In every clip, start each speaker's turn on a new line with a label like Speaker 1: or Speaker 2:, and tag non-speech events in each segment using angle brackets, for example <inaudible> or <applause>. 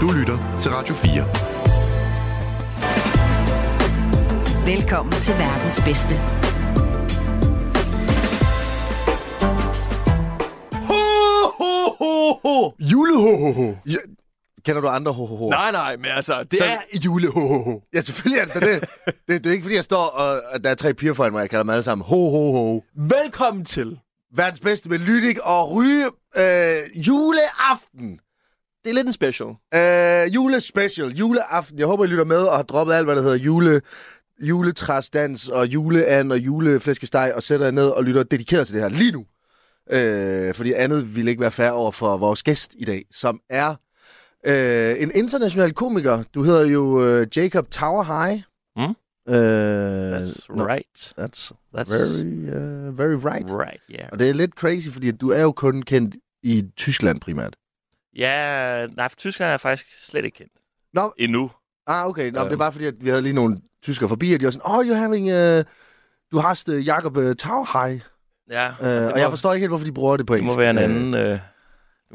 Speaker 1: Du lytter til Radio
Speaker 2: Velkommen til verdens bedste.
Speaker 3: Julehohoho.
Speaker 1: 4. Ja, kender du andre ho
Speaker 3: Nej, nej, men altså, det
Speaker 1: Så-
Speaker 3: så... er julehohoho.
Speaker 1: Ja, selvfølgelig er det da det. <laughs> det. Det er ikke, fordi jeg står og og der er tre piger foran mig, jeg kalder dem alle sammen ho, ho, ho.
Speaker 3: Velkommen til.
Speaker 1: Verdens bedste med lytik og ryge øh, juleaften.
Speaker 3: Det er lidt en special.
Speaker 1: Øh, julespecial, juleaften. Jeg håber, I lytter med og har droppet alt, hvad der hedder jule, juletræsdans og juleand og juleflæskesteg og sætter jer ned og lytter dedikeret til det her lige nu. Øh, fordi andet ville ikke være fair over for vores gæst i dag, som er øh, en international komiker. Du hedder jo øh, Jacob Tower High. Mm. Øh, no,
Speaker 4: right.
Speaker 1: That's,
Speaker 4: That's
Speaker 1: very, uh, very right.
Speaker 4: right, yeah.
Speaker 1: Og det er lidt crazy, fordi du er jo kun kendt i Tyskland primært.
Speaker 4: Ja, nej, for Tyskland er faktisk slet ikke kendt.
Speaker 1: Nå.
Speaker 4: Endnu.
Speaker 1: Ah, okay. Nå, um, det er
Speaker 4: Øhm.
Speaker 1: bare fordi, at vi havde lige nogle tyskere forbi, og de var sådan, oh, you're having... Uh, du har uh, Jacob uh, Tauhaj. Uh,
Speaker 4: Ja, og det
Speaker 1: og
Speaker 4: må,
Speaker 1: jeg forstår ikke helt, hvorfor de bruger det på
Speaker 4: det
Speaker 1: engelsk.
Speaker 4: må være en
Speaker 1: Øh,
Speaker 4: anden... Øh, det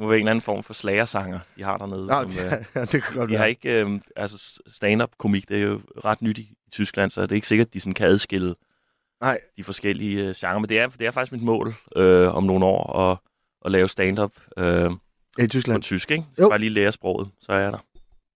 Speaker 4: må være en anden form for slagersanger, de har dernede.
Speaker 1: Nå,
Speaker 4: som, øh,
Speaker 1: det, ja, <laughs> det kan godt
Speaker 4: de
Speaker 1: være.
Speaker 4: har ikke... Øh, altså, stand-up-komik, det er jo ret nyt i, i Tyskland, så det er ikke sikkert, at de sådan kan adskille
Speaker 1: Nej.
Speaker 4: de forskellige øh, genrer. Men det er, det er faktisk mit mål øh, om nogle år at, at lave stand-up
Speaker 1: I
Speaker 4: øh, på
Speaker 1: Tyskland.
Speaker 4: tysk, ikke?
Speaker 1: Jo.
Speaker 4: Skal bare lige lære sproget, så er jeg der.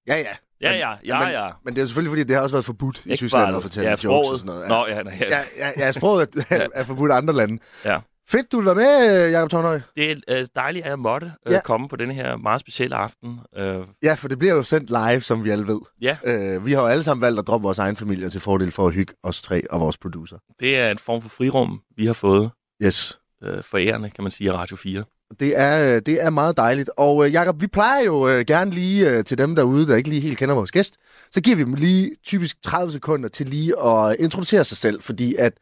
Speaker 1: Ja, ja.
Speaker 4: Ja,
Speaker 1: Men-
Speaker 4: ja, ja,
Speaker 1: men-
Speaker 4: ja.
Speaker 1: Men det er jo selvfølgelig, fordi det har også været forbudt i
Speaker 4: Ikke
Speaker 1: Tyskland
Speaker 4: bare-
Speaker 1: at fortælle
Speaker 4: ja,
Speaker 1: jokes
Speaker 4: sproget.
Speaker 1: og sådan noget.
Speaker 4: Nå, ja, nej,
Speaker 1: Ja,
Speaker 4: ja.
Speaker 1: ja, ja, sproget er,
Speaker 4: <laughs> Ja.
Speaker 1: er forbudt i andre lande.
Speaker 4: Ja.
Speaker 1: Fedt, du vil være med, øh, Jacob Tornøj.
Speaker 4: Det er øh, dejligt, at jeg måtte øh,
Speaker 1: Ja.
Speaker 4: komme på denne her meget specielle aften. Øh,
Speaker 1: Ja, for det bliver jo sendt live, som vi alle ved.
Speaker 4: Ja.
Speaker 1: Øh, vi har jo alle sammen valgt at droppe vores egen familie til fordel for at hygge os tre og vores producer.
Speaker 4: det er en form for frirum, vi har fået
Speaker 1: Yes.
Speaker 4: øh, forærende, kan man sige, af Radio 4.
Speaker 1: Det er, øh, det er meget dejligt. Og øh, Jakob, vi plejer jo øh, gerne lige øh, til dem derude, der ikke lige helt kender vores gæst, så giver vi dem lige typisk 30 sekunder til lige at introducere sig selv, fordi at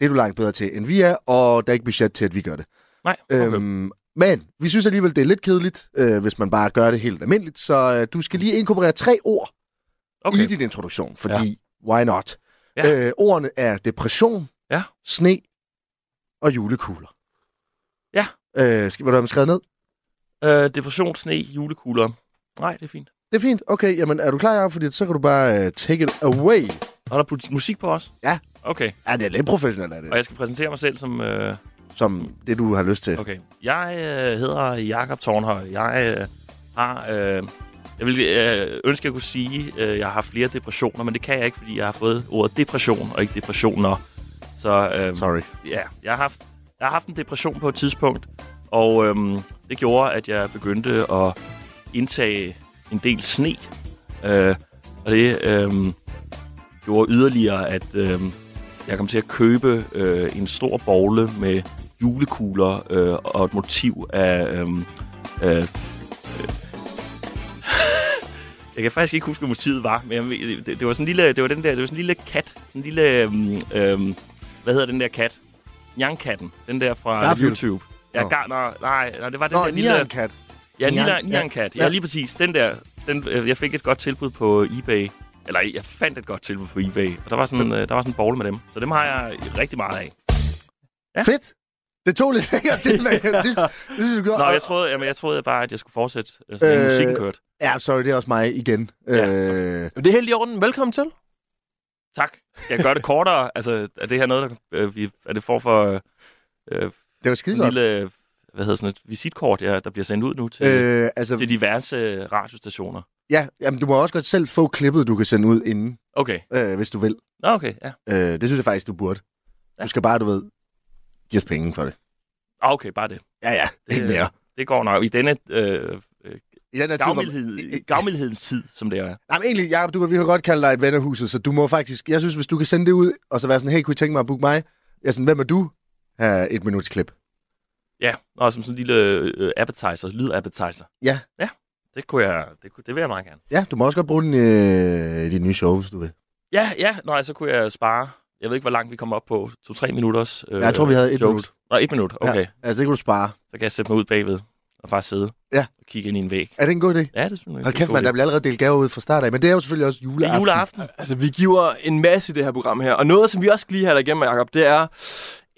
Speaker 1: det er du langt bedre til, end vi er, og der er ikke budget til, at vi gør det.
Speaker 4: Nej, okay. øhm,
Speaker 1: Øhm, men vi synes alligevel, det er lidt kedeligt, øh, hvis man bare gør det helt almindeligt, så øh, du skal lige inkorporere tre ord okay. i
Speaker 4: okay.
Speaker 1: din introduktion, fordi ja. why not?
Speaker 4: Ja.
Speaker 1: Øh, ordene er depression,
Speaker 4: Ja.
Speaker 1: sne og julekugler.
Speaker 4: Ja.
Speaker 1: Øh, skal, vil du have dem skrevet ned?
Speaker 4: Øh, depression, sne, julekugler. Nej, det er fint.
Speaker 1: Det er fint. Okay, jamen er du klar, Jacob? Fordi så kan du bare uh, take it away.
Speaker 4: Og der er musik på os?
Speaker 1: Ja.
Speaker 4: Okay,
Speaker 1: Ja, det er lidt professionelt, er det?
Speaker 4: og jeg skal præsentere mig selv som... Øh,
Speaker 1: Som det, du har lyst til.
Speaker 4: okay. Jeg øh, hedder Jakob Tornhøj. Jeg øh, har... Øh, jeg vil øh, ønske, at jeg kunne sige, at øh, jeg har flere depressioner, men det kan jeg ikke, fordi jeg har fået ordet depression og ikke depressioner. Så, øh,
Speaker 1: Sorry.
Speaker 4: ja, jeg har haft, jeg har haft en depression på et tidspunkt, og øhm, det gjorde, at jeg begyndte at indtage en del sne. Øh, og det øhm, gjorde yderligere, at øhm, jeg kom til at købe øh, en stor bogle med julekugler øh, og et motiv af... Øhm, øh, <laughs> øh, jeg kan faktisk ikke huske, hvad motivet var, men jeg, ved- det, det, var sådan en lille, det var den der, det var sådan en lille kat, sådan en lille, øhm, øhm, hvad hedder den der kat? Nyan-katten, den der fra
Speaker 1: Garfield.
Speaker 4: YouTube. Ja,
Speaker 1: Nå.
Speaker 4: gar, nej, nej, nej, det var den
Speaker 1: Nå,
Speaker 4: der
Speaker 1: en
Speaker 4: lille...
Speaker 1: lille... kat.
Speaker 4: Ja,
Speaker 1: Nian-
Speaker 4: Nian,
Speaker 1: ja.
Speaker 4: Nian Cat. Ja.
Speaker 1: Ja.
Speaker 4: lige præcis. Den der. Den, øh, jeg fik et godt tilbud på eBay. Eller jeg fandt et godt tilbud på eBay. Og der var sådan, øh, der var sådan en bowl med dem. Så dem har jeg rigtig meget af.
Speaker 1: Ja.
Speaker 4: Ja.
Speaker 1: Fedt. Det tog lidt længere til, hvad
Speaker 4: <laughs>
Speaker 1: jeg synes, det synes, du gjorde.
Speaker 4: Nå,
Speaker 1: Og-
Speaker 4: jeg troede, jamen, jeg troede bare, at jeg skulle fortsætte, øh, så længe
Speaker 1: Øh,
Speaker 4: musikken kørte.
Speaker 1: Ja, sorry, det er også mig igen.
Speaker 4: Ja.
Speaker 1: Øh,
Speaker 3: Jamen, det er helt i orden. Velkommen til.
Speaker 4: Tak. Jeg gør det
Speaker 1: <laughs>
Speaker 4: kortere. altså, er det her noget, der, øh, vi, er det for for øh, øh,
Speaker 1: det var skide
Speaker 4: en
Speaker 1: godt.
Speaker 4: lille, øh, hvad hedder sådan et visitkort, ja, der bliver sendt ud nu til, øh,
Speaker 1: Øh, altså,
Speaker 4: til diverse øh, radiostationer?
Speaker 1: ja, jamen, du må også godt selv få klippet, du kan sende ud inden,
Speaker 4: Okay.
Speaker 1: øh, hvis du vil.
Speaker 4: Nå, okay, ja.
Speaker 1: Øh, det synes jeg faktisk, du burde.
Speaker 4: Ja.
Speaker 1: Du skal bare, du ved, give os penge for det.
Speaker 4: Ah, okay, bare det.
Speaker 1: Ja, ja,
Speaker 4: Det-
Speaker 1: ikke mere.
Speaker 4: Det går nok. I denne øh, øh,
Speaker 1: I den her tid, hvor-
Speaker 4: gavmildhed, i gavmildhedens tid, som det er.
Speaker 1: Nej, men egentlig, Jacob, du, kan- vi kan godt kalde dig et ven af huset, så du må faktisk... Jeg synes, hvis du kan sende det ud, og så være sådan, hey, kunne I tænke mig at booke mig? Jeg er sådan, hvem er du? Her et minuts klip.
Speaker 4: Ja, og som sådan en lille øh, appetizer, lyd-appetizer.
Speaker 1: Ja.
Speaker 4: Ja, det kunne jeg, det, kunne, det vil jeg meget gerne.
Speaker 1: Ja, du må også godt bruge den øh, i dit nye show, hvis du vil.
Speaker 4: Ja, ja, nej, så kunne jeg spare, jeg ved ikke, hvor langt vi kom op på, to-tre minutters øh,
Speaker 1: Øh, jeg tror, vi havde et
Speaker 4: jokes.
Speaker 1: minut.
Speaker 4: Nå, et minut, okay. Ja.
Speaker 1: Altså, det kan du spare.
Speaker 4: Så kan jeg sætte mig ud bagved og bare sidde
Speaker 1: Ja.
Speaker 4: og kigge ind i en væg.
Speaker 1: Er det en god idé?
Speaker 4: Ja, det synes jeg.
Speaker 1: Hold
Speaker 4: det er
Speaker 1: kæft,
Speaker 4: en
Speaker 1: man,
Speaker 4: god
Speaker 1: der
Speaker 4: idé.
Speaker 1: bliver allerede delt gaver ud fra start af, men det er jo selvfølgelig også
Speaker 4: Det er
Speaker 1: juleaften.
Speaker 4: juleaften.
Speaker 3: Altså, vi giver en masse i det her program her. Og noget, som vi også skal lige have dig igennem, Jacob, det er...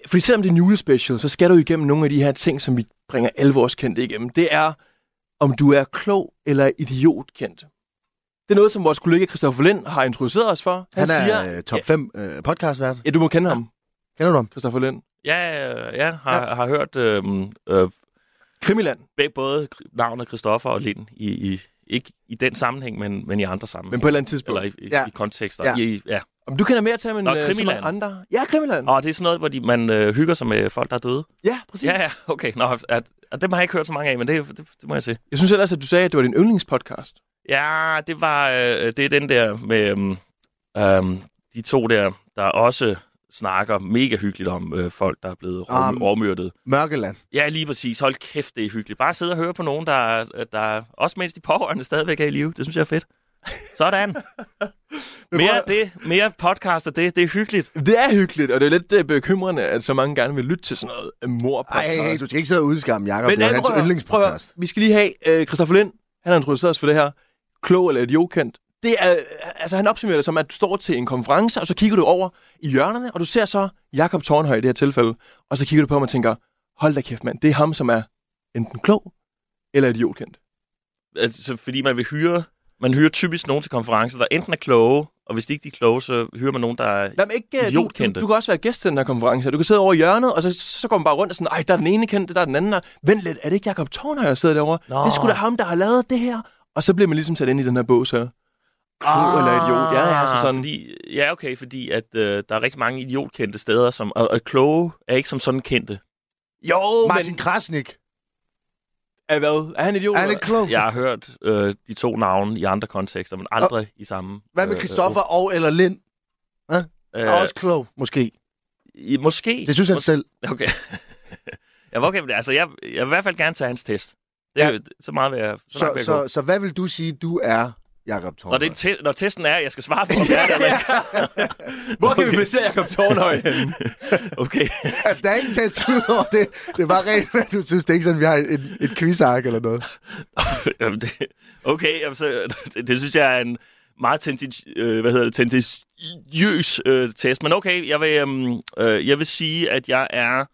Speaker 3: Fordi selvom det er en julespecial, så skal du igennem nogle af de her ting, som vi bringer alvorskendt igennem. Det er, om du er klog eller idiotkendt. Det er noget, som vores kollega Christoffer Lind har introduceret os for.
Speaker 1: Han, han
Speaker 3: siger,
Speaker 1: er øh, top 5 øh, podcastvært.
Speaker 3: ja, du må kende ham,
Speaker 1: Kender du ham?
Speaker 3: Christoffer Lind.
Speaker 4: Ja, øh, ja, har, ja. har hørt øh, øh,
Speaker 3: Krimiland.
Speaker 4: beg- både kri- navnet Christoffer og Lind i, i ikke i den sammenhæng, men, men i andre sammenhæng.
Speaker 3: Men på et eller andet tidspunkt.
Speaker 4: eller i, i,
Speaker 1: Ja.
Speaker 4: ja. i kontekster.
Speaker 1: Ja.
Speaker 4: Ja. I, ja.
Speaker 3: Om du kender mere til ham end
Speaker 4: Nå,
Speaker 3: øh, så
Speaker 4: Krimiland.
Speaker 3: mange andre. Ja, Krimiland.
Speaker 4: Og det er sådan noget, hvor de, man øh, hygger sig med folk, der er døde.
Speaker 3: Ja, præcis.
Speaker 4: Ja, ja, okay. Nå, at, at, dem har jeg ikke hørt så mange af, men det, det, det må jeg se.
Speaker 3: Jeg synes ellers, at du sagde, at det var din yndlingspodcast.
Speaker 4: Ja, det var øh, det er den der med øhm, øhm, de to der, der også snakker mega hyggeligt om øh, folk, der er blevet
Speaker 1: Um.
Speaker 4: um. overmyrdet.
Speaker 1: Mørkeland.
Speaker 4: Ja, lige præcis. Hold kæft, det er hyggeligt. Bare sidde og høre på nogen, der, der også mens de pårørende stadigvæk er i live. Det synes jeg er fedt. Sådan. mere af det, mere podcast af det. Det er hyggeligt.
Speaker 3: Det er hyggeligt, og det er lidt øh, bekymrende, at så mange gerne vil lytte til sådan noget øh, mor
Speaker 1: Ej, hey, hey, du skal ikke sidde og udskamme Jacob. Men det er
Speaker 3: Albrød,
Speaker 1: hans yndlingspodcast.
Speaker 3: prøv at- Vi skal lige have øh, Christoffer Lind. Han har introduceret os for det her. Klog eller idiot kendt. Det er, altså, han opsummerer det som, at du står til en konference, og så kigger du over i hjørnerne, og du ser så Jakob Tornhøj i det her tilfælde. Og så kigger du på ham og tænker, hold da kæft mand, det er ham, som er enten klog eller idiotkendt.
Speaker 4: Altså, fordi man vil hyre... Man hyrer typisk nogen til konferencer, der enten er kloge, og hvis de ikke er kloge, så hyrer man nogen, der er...
Speaker 3: Jamen, ikke, øh, du, du,
Speaker 4: Idiotkendte.
Speaker 3: du, kan også være gæst til den her konference. Du kan sidde over i hjørnet, og så, så går man bare rundt og sådan, ej, der er den ene kendte, der er den anden. og Vent lidt, er det ikke Jakob Tornhøj, der sidder derovre?
Speaker 4: Nå.
Speaker 3: Det er sgu da ham, der har lavet det her. Og så bliver man ligesom sat ind i den her bås her. Klog eller idiot. Ja, ja, altså sådan.
Speaker 4: Ah, Fordi, ja, okay, fordi at, øh, der er rigtig mange idiotkendte steder, som, og, og kloge er ikke som sådan kendte.
Speaker 3: Jo,
Speaker 1: Martin
Speaker 3: men...
Speaker 1: Krasnik.
Speaker 3: Er hvad? Er han idiot?
Speaker 1: Er han ikke klog?
Speaker 4: Jeg har hørt øh, de to navne i andre kontekster, men aldrig og, i samme.
Speaker 1: Hvad med
Speaker 4: øh,
Speaker 1: Christoffer og eller Lind?
Speaker 4: Øh,
Speaker 1: Er også klog, måske.
Speaker 4: i- måske. <laughs>
Speaker 1: Det synes han
Speaker 4: Mås-
Speaker 1: selv.
Speaker 4: Okay. jeg var okay med det. Altså, jeg, jeg vil i hvert fald gerne tage hans test. Det,
Speaker 1: Ja.
Speaker 4: ja. Så meget vil jeg, så
Speaker 1: Så,
Speaker 4: langt vil jeg
Speaker 1: så,
Speaker 4: gå.
Speaker 1: så hvad vil du sige, du er, Jacob Thorne?
Speaker 4: Når, det, er en te- når testen er, at jeg skal svare på, om jeg er det eller
Speaker 1: <laughs>
Speaker 4: ikke.
Speaker 3: Hvor kan okay. vi
Speaker 4: Okay.
Speaker 3: placere Jacob
Speaker 4: <laughs>
Speaker 3: Tornhøj henne?
Speaker 4: Okay.
Speaker 1: Altså, der er ikke test ud over det. Det er bare rent, hvad du synes. Det er ikke sådan, vi har et, et quizark eller noget.
Speaker 4: <laughs> Jamen, det, okay, jamen, så, <laughs> det, det synes jeg er en meget tentis, øh, hvad hedder det, tendentiøs øh, test. Men okay, jeg vil, øhm, øh, jeg vil sige, at jeg er...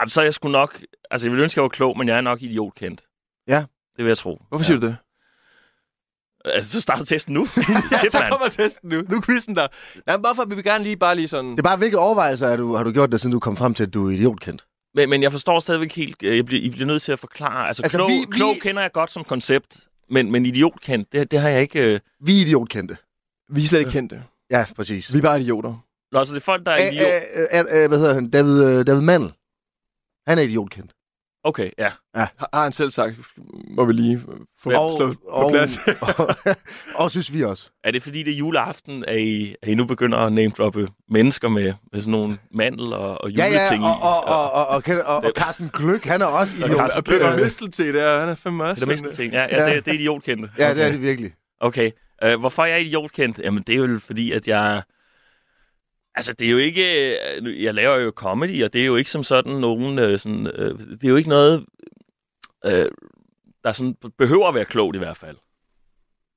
Speaker 4: Jamen, så er jeg sgu nok... Altså, jeg ville ønske, at jeg var klog, men jeg er nok idiotkendt.
Speaker 1: Ja.
Speaker 4: Det vil jeg tro.
Speaker 3: Hvorfor siger du det? <laughs>
Speaker 4: ja. Altså, så starter
Speaker 1: <laughs>
Speaker 4: testen nu. <laughs> Shit, mand.
Speaker 3: testen nu. Nu er quizzen der. Jamen, bare for, vi vil gerne lige bare lige sådan...
Speaker 1: Det er bare, hvilke overvejelser har du, har du gjort dig, siden du kom frem til, at du er idiotkendt?
Speaker 4: Men, men jeg forstår stadigvæk helt... øh, Jeg bliver, I bliver nødt til at forklare. Altså,
Speaker 1: Altså,
Speaker 4: altså klog,
Speaker 1: vi-
Speaker 4: vi,
Speaker 1: vi-
Speaker 4: klog kender jeg godt som koncept, men, men idiotkendt, det, det har jeg ikke... Øh...
Speaker 1: Vi er idiotkendte.
Speaker 3: Vi er slet ikke kendte.
Speaker 1: Ja, præcis.
Speaker 3: Vi er bare idioter.
Speaker 4: Nå, altså, det er folk, der
Speaker 1: Æ,
Speaker 4: er idiot...
Speaker 1: æ, æ, æ, hvad hedder han? David, øh, David Mandel. Han er idiotkendt.
Speaker 4: Okay, ja.
Speaker 3: Har har han selv sagt, må vi lige få slået på
Speaker 1: og,
Speaker 3: plads.
Speaker 1: og, og, synes vi også.
Speaker 4: Er det fordi, det er juleaften, at I, at I nu begynder at name-droppe mennesker med, med sådan nogle mandel og, og
Speaker 1: Ja,
Speaker 4: juleting
Speaker 1: ja, og,
Speaker 4: i?
Speaker 1: og, og, og, og, og, og, og Carsten Gløk, han er også idiot.
Speaker 4: Carsten
Speaker 3: Og Peter
Speaker 4: Øh,
Speaker 3: Mistelted, der, han er fandme også.
Speaker 4: Det er mest
Speaker 3: sådan,
Speaker 4: ting. Ja, ja,
Speaker 1: Ja.
Speaker 4: Det, det er idiotkendte.
Speaker 1: Ja, det er det virkelig.
Speaker 4: Okay. Øh, hvorfor er jeg idiotkendt? Jamen, det er jo fordi, at jeg... Altså, det er jo ikke... øh, Jeg laver jo comedy, og det er jo ikke som sådan nogen... Øh, sådan, øh, det er jo ikke noget, øh, der sådan behøver at være klogt i hvert fald.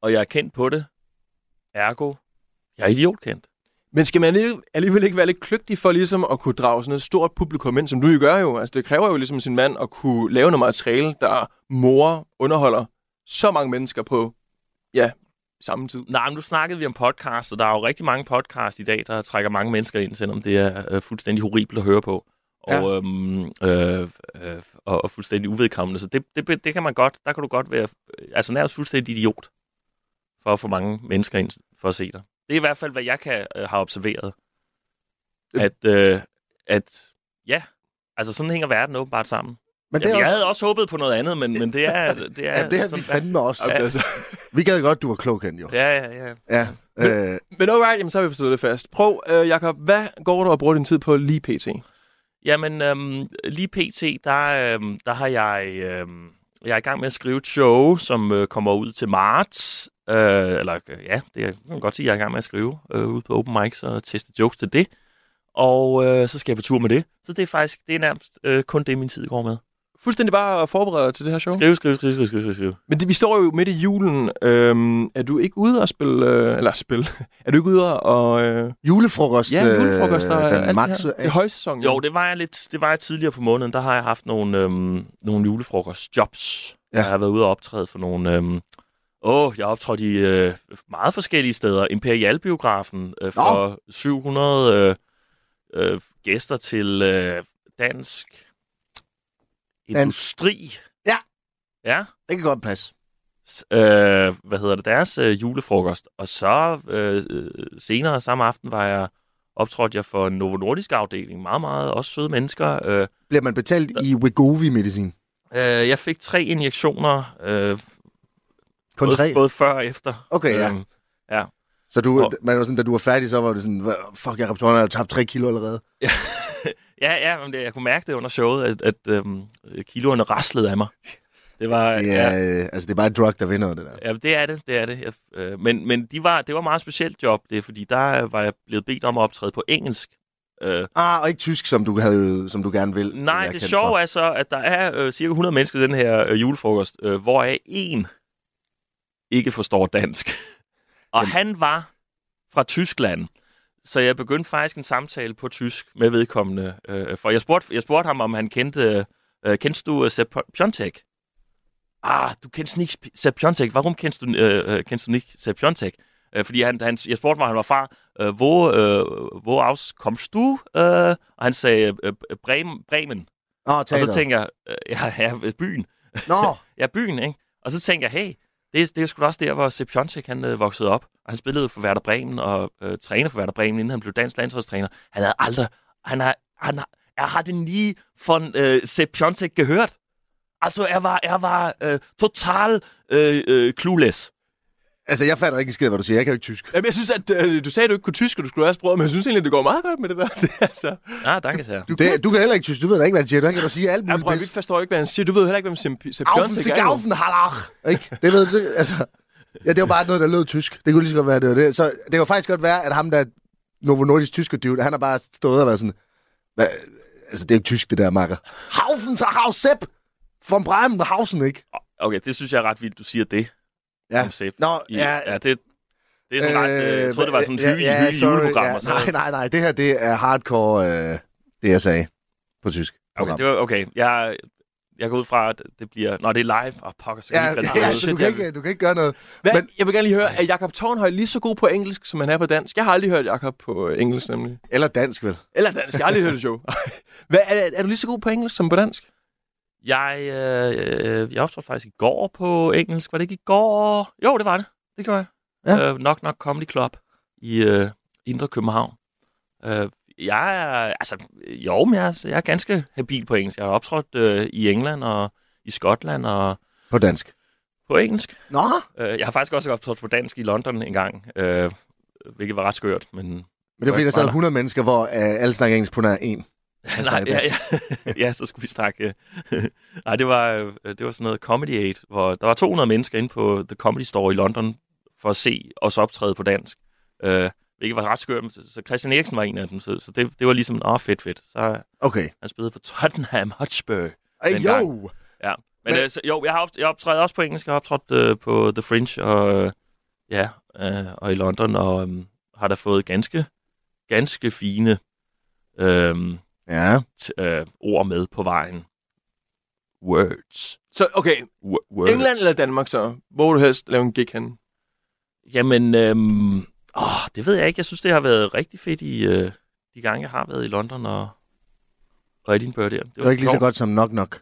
Speaker 4: Og jeg er kendt på det. Ergo, jeg er idiotkendt.
Speaker 3: øh. Men skal man alligevel- alligevel ikke være lidt kløgtig for ligesom at kunne drage sådan et stort publikum ind, som du jo gør jo? Altså, det kræver jo ligesom sin mand at kunne lave noget materiale, der morer, underholder så mange mennesker på, ja, samme tid.
Speaker 4: Nej, men nu snakkede vi om podcast, og der er jo rigtig mange podcast i dag, der trækker mange mennesker ind, selvom det er øh, fuldstændig horribelt at høre på. Og,
Speaker 1: Ja.
Speaker 4: ja. øhm, øh, øh, og, og fuldstændig uvedkommende. Så det, det, det kan man godt, der kan du godt være øh, altså nærmest fuldstændig idiot for at få mange mennesker ind for at se dig. Det er i hvert fald, hvad jeg kan øh, har observeret.
Speaker 1: Øhm.
Speaker 3: Det-
Speaker 4: At, øh, at ja, altså sådan hænger verden åbenbart sammen.
Speaker 1: Men det
Speaker 4: Jamen,
Speaker 1: er
Speaker 4: jeg
Speaker 1: også,
Speaker 4: havde også håbet på noget andet, men, men det er... Det er,
Speaker 1: <laughs> ja, det havde
Speaker 4: sådan-
Speaker 1: vi fandme også.
Speaker 3: Okay, altså.
Speaker 1: Vi gad godt, du var klogkendt, jo.
Speaker 4: Ja, ja, ja.
Speaker 1: Ja. Øh,
Speaker 3: Men alright, jamen, så har vi forstået det fast. Prøv, øh, Jakob, hvad går du og bruger din tid på lige pt?
Speaker 4: Jamen, øhm, lige pt, der, øhm, der har jeg... Øhm, jeg er i gang med at skrive et show, som øh, kommer ud til marts. Øh, eller øh, ja, det er- kan man godt sige, jeg er i gang med at skrive øh, ud på open mics og teste jokes til det. Og øh, så skal jeg på tur med det. Så det er faktisk det er nærmest øh, kun det, min tid går med.
Speaker 3: Fuldstændig bare at forberede dig til det her show.
Speaker 4: Skrive, skrive, skrive, skrive, skrive, skrive, skrive.
Speaker 3: Men det, vi står jo midt i julen. Øhm, er du ikke ude og spille... Øh, eller spille... <laughs> er du ikke ude og... Øh,
Speaker 1: julefrokost,
Speaker 3: ja,
Speaker 1: øh,
Speaker 3: julefrokoster og alt
Speaker 1: den
Speaker 3: det
Speaker 1: max
Speaker 3: her. Det er
Speaker 1: af.
Speaker 3: højsæson.
Speaker 4: Jo, det var jeg lidt, det var jeg tidligere på måneden. Der har jeg haft nogle, øhm, nogle julefrokostjobs.
Speaker 1: Ja.
Speaker 4: Ja. Jeg har været ude og optræde for nogle øhm, Åh, oh, jeg optrådte i øh, meget forskellige steder. Imperialbiografen øh, for 700 øh, øh, gæster til øh, dansk industri.
Speaker 1: Ja.
Speaker 4: Ja.
Speaker 1: Det kan godt passe.
Speaker 4: s- øh, hvad hedder det, deres øh, julefrokost. Og så øh, øh, senere samme aften var jeg, optrådte jeg for Novo Nordisk afdeling. Meget, meget også søde mennesker. Øh,
Speaker 1: Bliver man betalt i Wegovi-medicin?
Speaker 4: øh, jeg fik tre injektioner, øh,
Speaker 1: Kun
Speaker 4: både,
Speaker 1: tre?
Speaker 4: både før og efter.
Speaker 1: Okay, ja.
Speaker 4: Øhm, <laughs>
Speaker 1: Så du,
Speaker 4: Og-
Speaker 1: man var sådan, da du var færdig, så var det sådan, "Hva- fuck, Jacob Thorne har tabt tre kilo allerede.
Speaker 4: ja, ja, men det, jeg kunne mærke det under showet, at, at øhm, kiloerne raslede af mig. Det var,
Speaker 1: Det er, øh, altså, det er bare et drug, der vinder det der.
Speaker 4: Ja, det er det, det er det. Jeg, øh, men men de var, det var et meget specielt job, det, fordi der øh, var jeg blevet bedt om at optræde på engelsk. Øh,
Speaker 1: Ah, og ikke tysk, som du, havde, som du gerne vil.
Speaker 4: Nej,
Speaker 1: jeg
Speaker 4: det
Speaker 1: kendt
Speaker 4: sjove
Speaker 1: fra.
Speaker 4: er så, at der er øh, cirka 100 mennesker i den her øh, julefrokost, øh, hvoraf en ikke forstår dansk. <laughs> Og
Speaker 1: Jamen.
Speaker 4: han var fra Tyskland, så jeg begyndte faktisk en samtale på tysk med vedkommende. Øh, for jeg spurgte, jeg spurgte ham, om han kendte, øh, kendte du øh, Sepp Piontek? Ah, du kendte ikke Sepp Piontek. Hvorom kendte du, øh, øh, kendte du ikke Sepp Piontek? Øh, fordi han, han, jeg spurgte, hvor han var fra. Øh, hvor, øh, hvor aus komst du? Øh, og han sagde, øh, øh, Bremen. Bremen.
Speaker 1: Åh,
Speaker 4: Og så
Speaker 1: teater.
Speaker 4: tænker jeg, øh, ja, ja, byen.
Speaker 1: Nå,
Speaker 4: Ja, byen, ikke? Og så tænker jeg, hey, det, er- det er sgu da også der, hvor Sepp Piontek, han øh, voksede op. Og han spillede for Werder Bremen og øh, træner for Werder Bremen, inden han blev dansk landsholdstræner. Han havde aldrig... Han har, han har, er hatte nie von øh, Sepp Piontek gehört. Altså, er var, er var øh, total øh, øh, clueless.
Speaker 1: altså, jeg fatter ikke en skid, hvad du siger. Jeg kan jo ikke tysk.
Speaker 3: Jamen, jeg synes, at øh, du sagde, at du ikke kunne tysk, og du skulle lære sproget, men jeg synes egentlig, at det går meget godt med det der. <laughs> Det, er altså,
Speaker 4: Ja, danke sehr.
Speaker 1: Du, det, du kan heller ikke tysk. Du ved da ikke, hvad han siger. Du kan da sige alt
Speaker 3: jeg,
Speaker 1: muligt.
Speaker 3: prøver, vi
Speaker 1: pis.
Speaker 3: forstår ikke, hvad han siger. Du ved heller ikke, hvem Sepp
Speaker 1: Aufen
Speaker 3: Pjontek
Speaker 1: til
Speaker 3: er. jo.
Speaker 1: gaufen, halach! Ikke? Det ved du, altså... Ja, det var bare noget, der lød tysk. Det kunne lige så godt være, det var det. Så det kan faktisk godt være, at ham der Novo Nordisk tysker dude, han har bare stået og været sådan... Hvad? Altså, det er jo ikke tysk, det der, makker. Haufen, så Hausep! From Bremen, Hausen, ikke?
Speaker 4: Okay, det synes jeg er ret vildt, du siger det.
Speaker 1: Ja.
Speaker 4: om Sepp.
Speaker 1: Nå,
Speaker 4: I,
Speaker 1: ja.
Speaker 4: ja, det, det er sådan ret... Øh, jeg troede, det var sådan et
Speaker 1: ja,
Speaker 4: hyggeligt ja, ja,
Speaker 1: sorry,
Speaker 4: juleprogram.
Speaker 1: ja.
Speaker 4: og sådan noget.
Speaker 1: Nej, nej, nej. Det her, det er hardcore, øh, det jeg sagde på tysk.
Speaker 4: Okay,
Speaker 1: program.
Speaker 4: det var, okay. Jeg, jeg går ud fra, at det bliver... Nå, det er live. Åh, oh, pokker, så kan jeg ikke
Speaker 1: ja,
Speaker 4: rigtig-
Speaker 1: ja,
Speaker 3: Åh,
Speaker 1: så
Speaker 3: shit,
Speaker 1: du, kan
Speaker 3: jeg-
Speaker 1: ikke, du kan ikke gøre noget.
Speaker 3: Hvad?
Speaker 1: Men-
Speaker 3: Men... Jeg vil gerne lige høre, er Jakob Tornhøj lige så god på engelsk, som han er på dansk? Jeg har aldrig hørt Jakob på øh, engelsk, nemlig.
Speaker 1: Eller dansk, vel?
Speaker 3: Eller dansk. Jeg har aldrig hørt det show. <laughs> Hvad, er, er du lige så god på engelsk som på dansk?
Speaker 4: Jeg, øh, øh, jeg optrådte faktisk i går på engelsk. Var det ikke i går? Jo, det var det. Det gjorde jeg. Ja. Øh, nok Nok Comedy Club i øh, Indre København. Øh, jeg er, altså, jo, men jeg, er- jeg er ganske habil på engelsk. Jeg har optrådt øh, i England og i Skotland og
Speaker 1: På dansk.
Speaker 4: på engelsk.
Speaker 1: Nå,
Speaker 4: Øh, jeg har faktisk også optrådt på dansk i London en gang, øh, hvilket var ret skørt, men
Speaker 1: men det var fordi, der sad
Speaker 4: Voilà.
Speaker 1: 100 mennesker, hvor øh, alle snakker engelsk på nær en.
Speaker 4: Nej,
Speaker 1: snakkede
Speaker 4: ja, ja. <laughs> ja, så skulle vi snakke. øh, Nej, det var, øh, det var sådan noget Comedy Aid, hvor der var 200 mennesker inde på The Comedy Store i London for at se os optræde på dansk. Øh, hvilket var ret skørt, men så så Christian Eriksen var en af dem, så, så det, det var ligesom, åh, fedt, fedt. Så
Speaker 1: Okay.
Speaker 4: han spillede for Tottenham Hotspur.
Speaker 1: Ej,
Speaker 4: Dengang.
Speaker 1: jo!
Speaker 4: Ja. Men,
Speaker 1: Men-
Speaker 4: men... Øh, så, jo, jeg har opt- jeg optrædet også på engelsk, jeg har optrådt øh, på The Fringe og, øh, ja, øh, og i London, og øh, har da fået ganske, ganske fine... Øh,
Speaker 1: Ja.
Speaker 4: t- øh, ord med på vejen. Words.
Speaker 3: Så okay,
Speaker 4: W- words.
Speaker 3: England eller Danmark så? Hvor vil du helst lave en gig henne?
Speaker 4: Jamen, øhm, åh, det ved jeg ikke. Jeg synes, det har været rigtig fedt i øh, de gange, jeg har været i London og, og Edinburgh der.
Speaker 1: Det var ikke lige så
Speaker 4: sjovt.
Speaker 1: godt som Knock Knock.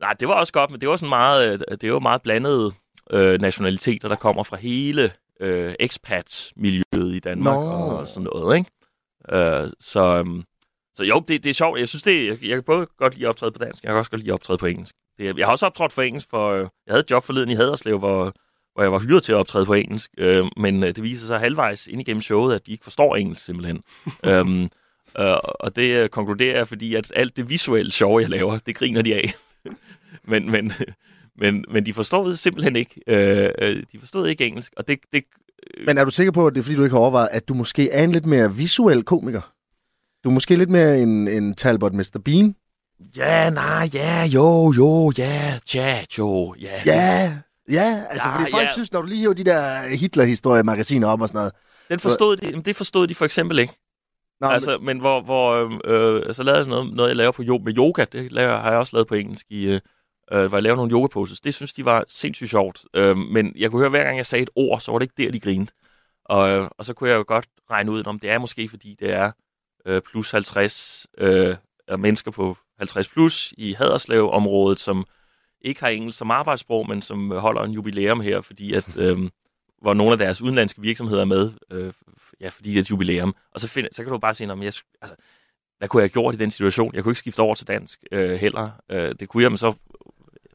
Speaker 4: Nej, det var også godt, men det var sådan meget, øh, det var meget blandede øh, nationaliteter, der kommer fra hele øh, expat-miljøet i Danmark
Speaker 1: Nå.
Speaker 4: og sådan noget, ikke? Øh, så, øhm, så jo, det, det er sjovt. Jeg synes, det, jeg, jeg kan både godt lide at optræde på dansk, jeg kan også godt lide at optræde på engelsk. Det, jeg har også optrådt for engelsk, for øh, jeg havde et job forleden i Haderslev, hvor, hvor jeg var hyret til at optræde på engelsk, øh, men øh, det viser sig halvvejs ind igennem showet, at de ikke forstår engelsk simpelthen. øhm, øh, og det øh, konkluderer jeg, fordi at alt det visuelle sjove, jeg laver, det griner de af men, men, <laughs> men, men de forstod simpelthen ikke. Øh, øh, de forstod ikke engelsk, og det, det
Speaker 1: Men er du sikker på, at det er fordi, du ikke har overvejet, at du måske er en lidt mere visuel komiker? Du er måske lidt mere en, en Talbot Mr. Bean?
Speaker 4: ja, nej, ja, jo, jo, ja, tja, jo, ja.
Speaker 1: Ja, ja. Altså,
Speaker 4: Ja,
Speaker 1: fordi folk
Speaker 4: ja.
Speaker 1: synes, når du lige hiver de der Hitler-historie-magasiner op og sådan noget.
Speaker 4: Den forstod de, jamen, det forstod de for eksempel ikke.
Speaker 1: Nå, altså,
Speaker 4: altså, men altså, hvor, hvor øh, øh, så lavede jeg sådan noget, noget, jeg laver på jo, med yoga, det laver, har jeg også lavet på engelsk i, øh, øh, hvor jeg lavede nogle yoga poses. Det synes de var sindssygt sjovt. Øh, men jeg kunne høre, hver gang jeg sagde et ord, så var det ikke der, de grinede. Og, øh, og så kunne jeg jo godt regne ud, om det er måske, fordi det er øh, plus 50 øh, er mennesker på 50 plus i Haderslev-området, som ikke har engelsk som arbejdssprog, men som holder en jubilæum her, fordi at, øh, hvor nogle af deres udenlandske virksomheder er med, øh, f- ja, fordi det er et jubilæum. Og så, find, så kan du bare sige, om jeg, sk- altså, hvad kunne jeg have gjort i den situation? Jeg kunne ikke skifte over til dansk øh, heller. Øh, det kunne jeg, men så,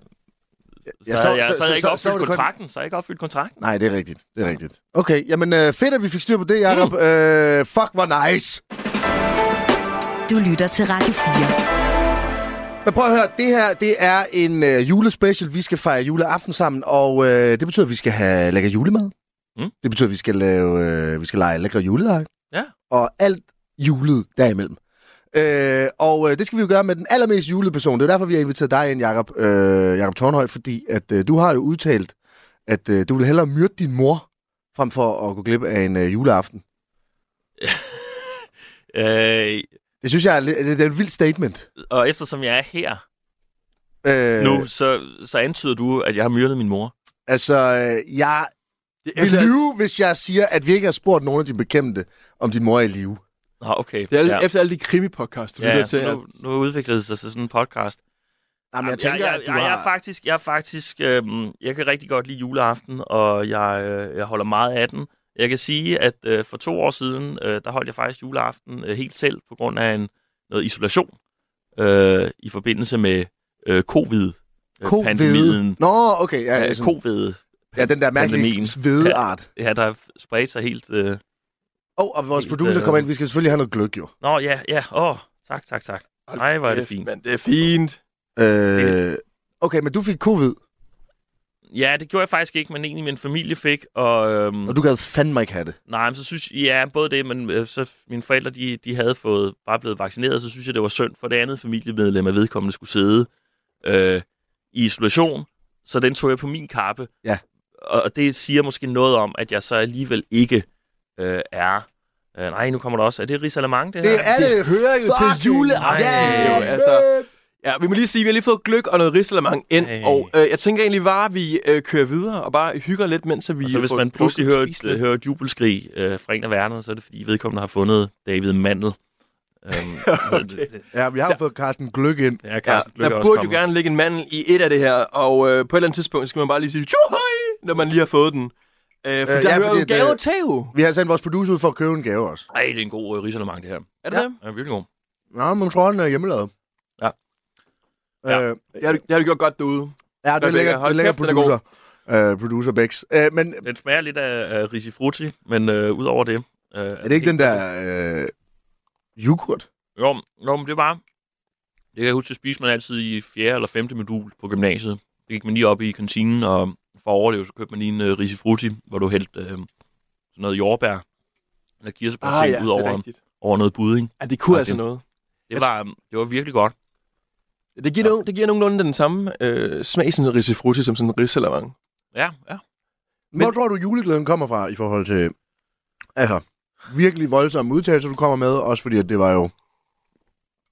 Speaker 4: så, ja, så, jeg, så, så, havde jeg ikke opfyldt
Speaker 1: var det kun-
Speaker 4: kontrakten. Så havde jeg ikke opfyldt kontrakten.
Speaker 1: Nej, det er rigtigt. Det er rigtigt. Okay, jamen øh, fedt, at vi fik styr på det, Jacob. Mm.
Speaker 4: Uh.
Speaker 1: Øh, fuck, hvor nice.
Speaker 2: Du lytter til Radio 4.
Speaker 1: Men prøv at høre, det her det er en øh, julespecial. Vi skal fejre juleaften sammen, og øh, det betyder, at vi skal have lækker julemad.
Speaker 4: Mm.
Speaker 1: Det betyder, at vi skal, lave, øh, vi skal lege lækre julelege.
Speaker 4: Ja.
Speaker 1: Og alt julet derimellem. Øh, og øh, det skal vi jo gøre med den allermest julede person. Det er jo derfor, vi har inviteret dig ind, Jacob, øh, Jacob Tornhøj, fordi at, øh, du har jo udtalt, at øh, du vil hellere myrde din mor, frem for at gå glip af en øh, juleaften.
Speaker 4: Øh,
Speaker 1: Det synes jeg er, lidt- det er et vildt statement.
Speaker 4: og eftersom jeg er her
Speaker 1: Øh,
Speaker 4: nu, så, så antyder du, at jeg har myrdet min mor.
Speaker 1: Altså, øh, jeg
Speaker 3: Det,
Speaker 1: Jeg vil lyve, hvis jeg siger, at vi ikke har spurgt nogen af de bekendte, om din mor er i live.
Speaker 4: Nå, okay.
Speaker 3: det er
Speaker 4: ja.
Speaker 3: ja. efter alle de krimi-podcasts, du ja,
Speaker 4: ja,
Speaker 3: lytter til.
Speaker 4: så
Speaker 3: at-
Speaker 4: nu, nu udviklede det sig til sådan en podcast.
Speaker 1: Jamen, jeg tænker,
Speaker 4: jeg,
Speaker 1: at du
Speaker 4: jeg,
Speaker 1: har...
Speaker 4: jeg er faktisk, jeg er faktisk, øhm, jeg kan rigtig godt lide juleaften, og jeg, øh, jeg holder meget af den. Jeg kan sige, at øh, for to år siden, øh, der holdt jeg faktisk juleaften øh, helt selv på grund af en noget isolation øh, i forbindelse med øh,
Speaker 1: Covid.
Speaker 4: covid-pandemien.
Speaker 1: Nå, okay. Ja,
Speaker 4: Øh,
Speaker 1: altså,
Speaker 4: covid.
Speaker 1: ja den der mærkelige
Speaker 4: pandemien.
Speaker 1: svedeart. Ja.
Speaker 4: Ja, der spredte sig helt... Øh...
Speaker 1: Oh, og vores
Speaker 4: Helt,
Speaker 1: producer
Speaker 4: øh,
Speaker 1: kommer ind. Vi skal selvfølgelig have noget gløk, jo.
Speaker 4: Nå, ja, ja. Åh, oh, tak, tak, tak.
Speaker 3: Hold
Speaker 4: Nej, hvor er det
Speaker 3: kæft,
Speaker 4: fint.
Speaker 3: mand, det er fint.
Speaker 1: Øh, okay, men du fik covid,
Speaker 4: Ja, det gjorde jeg faktisk ikke, men egentlig min familie fik, og... Øhm...
Speaker 1: og du gad fandme ikke have det.
Speaker 4: Nej, men så synes jeg, ja, både det, men øh, så mine forældre, de, de havde fået bare blevet vaccineret, så synes jeg, det var synd for det andet familiemedlem, at vedkommende skulle sidde øh, i isolation, så den tog jeg på min kappe.
Speaker 1: Ja.
Speaker 4: Og, og det siger måske noget om, at jeg så alligevel ikke øh, er... Øh, nej, nu kommer der også... Er det Risalamang, det,
Speaker 1: Det
Speaker 4: her?
Speaker 1: er det.
Speaker 3: det hører jo til
Speaker 1: fucking-
Speaker 3: juleaften,
Speaker 1: Ja,
Speaker 3: jo,
Speaker 1: mand.
Speaker 3: altså. Ja, vi må lige sige, at vi har lige fået gløk og noget risalamang ind,
Speaker 4: Ej.
Speaker 3: og øh, jeg tænker egentlig bare, at vi øh, kører videre og bare hygger lidt, mens at vi
Speaker 4: Og så Altså, hvis
Speaker 3: får
Speaker 4: man pludselig
Speaker 3: drukket
Speaker 4: hører
Speaker 3: og spist
Speaker 4: et,
Speaker 3: lidt.
Speaker 4: hører et jubelskrig øh, fra en af verdenerne, så er det fordi vedkommende har fundet David Mandel. Øhm,
Speaker 3: Okay.
Speaker 1: Ja, vi har jo fået Carsten Gløk ind.
Speaker 4: Ja,
Speaker 3: Ja,
Speaker 4: Carsten Lykke er
Speaker 3: der
Speaker 4: også
Speaker 3: burde jo
Speaker 4: kommet.
Speaker 3: gerne ligge en mandel i et af det her, og øh, på et eller andet tidspunkt skal man bare lige sige, tjuhøj, når man lige har fået den. Øh, for
Speaker 1: Øh,
Speaker 3: øh, der
Speaker 1: ja,
Speaker 3: ja, hører
Speaker 1: fordi
Speaker 3: jo
Speaker 1: at,
Speaker 3: gave
Speaker 1: øh,
Speaker 3: til jo.
Speaker 1: Vi har sendt vores producer ud for at købe en gave også.
Speaker 4: Ej, det er en god øh, risalemang, det her.
Speaker 3: Er det
Speaker 1: ja.
Speaker 3: det?
Speaker 4: Ja, virkelig god.
Speaker 1: Nå, men tror, han er hjemmelavet.
Speaker 4: Ja. Ja.
Speaker 1: Øh,
Speaker 3: Jeg har, det har du gjort godt derude.
Speaker 1: ja, det er
Speaker 3: Hvad
Speaker 1: lækker,
Speaker 3: lækker.
Speaker 1: det
Speaker 3: Hold
Speaker 1: er lækker
Speaker 3: kæft, den er god.
Speaker 1: producer. Øh, producer Bex. Øh, men
Speaker 4: Den smager lidt af, af risifrutti, men øh, udover det... Øh,
Speaker 1: er det ikke den der øh, yoghurt?
Speaker 4: Jo, jo, men det var... Det kan jeg huske, det spiste man altid i 4. eller 5. modul på gymnasiet. Det gik man lige op i kantinen, og for at overleve, så købte man lige en øh, risifrutti, hvor du hældte øh, sådan noget jordbær eller kirsebærte ah, ja, ud
Speaker 3: det er
Speaker 4: over,
Speaker 3: rigtigt.
Speaker 4: over noget budding.
Speaker 3: Ja, det kunne
Speaker 4: Ja,
Speaker 3: altså
Speaker 4: det-
Speaker 3: noget.
Speaker 4: Det var, øh, det var virkelig godt.
Speaker 3: Det giver,
Speaker 4: Ja.
Speaker 3: ja. nogen, det giver nogenlunde den samme øh, smag, sådan en risifrutti, som sådan en risalamang.
Speaker 4: Ja, ja.
Speaker 1: Men... Hvor
Speaker 3: Men-
Speaker 1: tror du, juleglæden kommer fra i forhold til... Altså, virkelig voldsomme udtalelser, du kommer med. Også fordi, at det var jo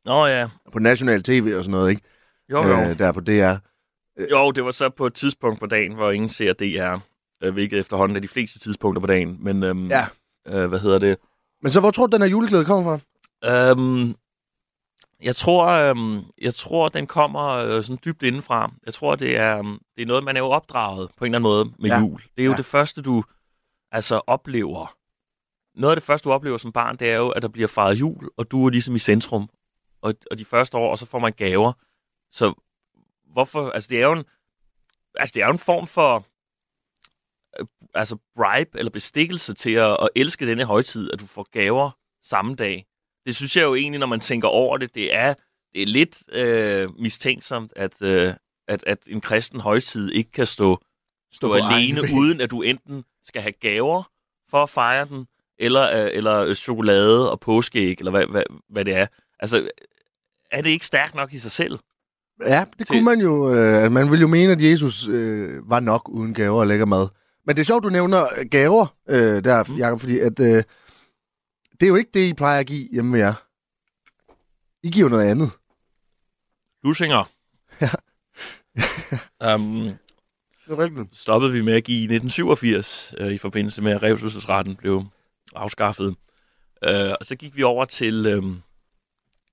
Speaker 4: Nå ja,
Speaker 1: på national tv og sådan noget, ikke?
Speaker 4: jo jo.
Speaker 1: Øh, der på DR.
Speaker 4: Jo, det var så på et tidspunkt på dagen, hvor ingen ser DR, øh, hvilket efterhånden er de fleste tidspunkter på dagen. Men øhm,
Speaker 1: Ja.
Speaker 4: øh, hvad hedder det?
Speaker 1: Men så hvor tror du, den her juleglæde kommer fra?
Speaker 4: Øhm, jeg tror, øhm, jeg tror, den kommer øh, sådan dybt indenfra. Jeg tror, det er, øhm, det er noget, man er jo opdraget på en eller anden måde med
Speaker 1: Ja.
Speaker 4: ja. jul. Det er jo
Speaker 1: Ja.
Speaker 4: ja. det første, du altså oplever. Noget af det første, du oplever som barn, det er jo, at der bliver fejret jul, og du er ligesom i centrum. Og, og de første år, og så får man gaver. Så hvorfor, altså det er jo en, altså det er jo en form for, øh, altså bribe eller bestikkelse til at, at elske denne højtid, at du får gaver samme dag. Det synes jeg jo egentlig, når man tænker over det, det er, det er lidt øh, mistænksomt, at, øh, at, at en kristen højtid ikke kan stå,
Speaker 1: på
Speaker 4: stå
Speaker 1: egne
Speaker 4: alene,
Speaker 1: ben.
Speaker 4: uden at du enten skal have gaver for at fejre den, eller, øh, eller øh, chokolade og påskeæg, eller hvad, hvad, hvad det er. Altså, er det ikke stærkt nok i sig selv?
Speaker 1: Ja, det
Speaker 4: Til-
Speaker 1: kunne man jo... Øh, man ville jo mene, at Jesus øh, var nok uden gaver og lækker mad. Men det er sjovt, du nævner øh, gaver øh, der,
Speaker 4: Mm.
Speaker 1: mm. Jacob, fordi at, øh, det er jo ikke det, I plejer at give hjemme ved jer. I giver jo noget andet.
Speaker 4: <laughs> Lusinger. Um,
Speaker 1: Det er rigtigt.
Speaker 4: stoppede vi med at give i 1987, øh, i forbindelse med, at revselsesretten blev afskaffet. Øh, og så gik vi over til, øh,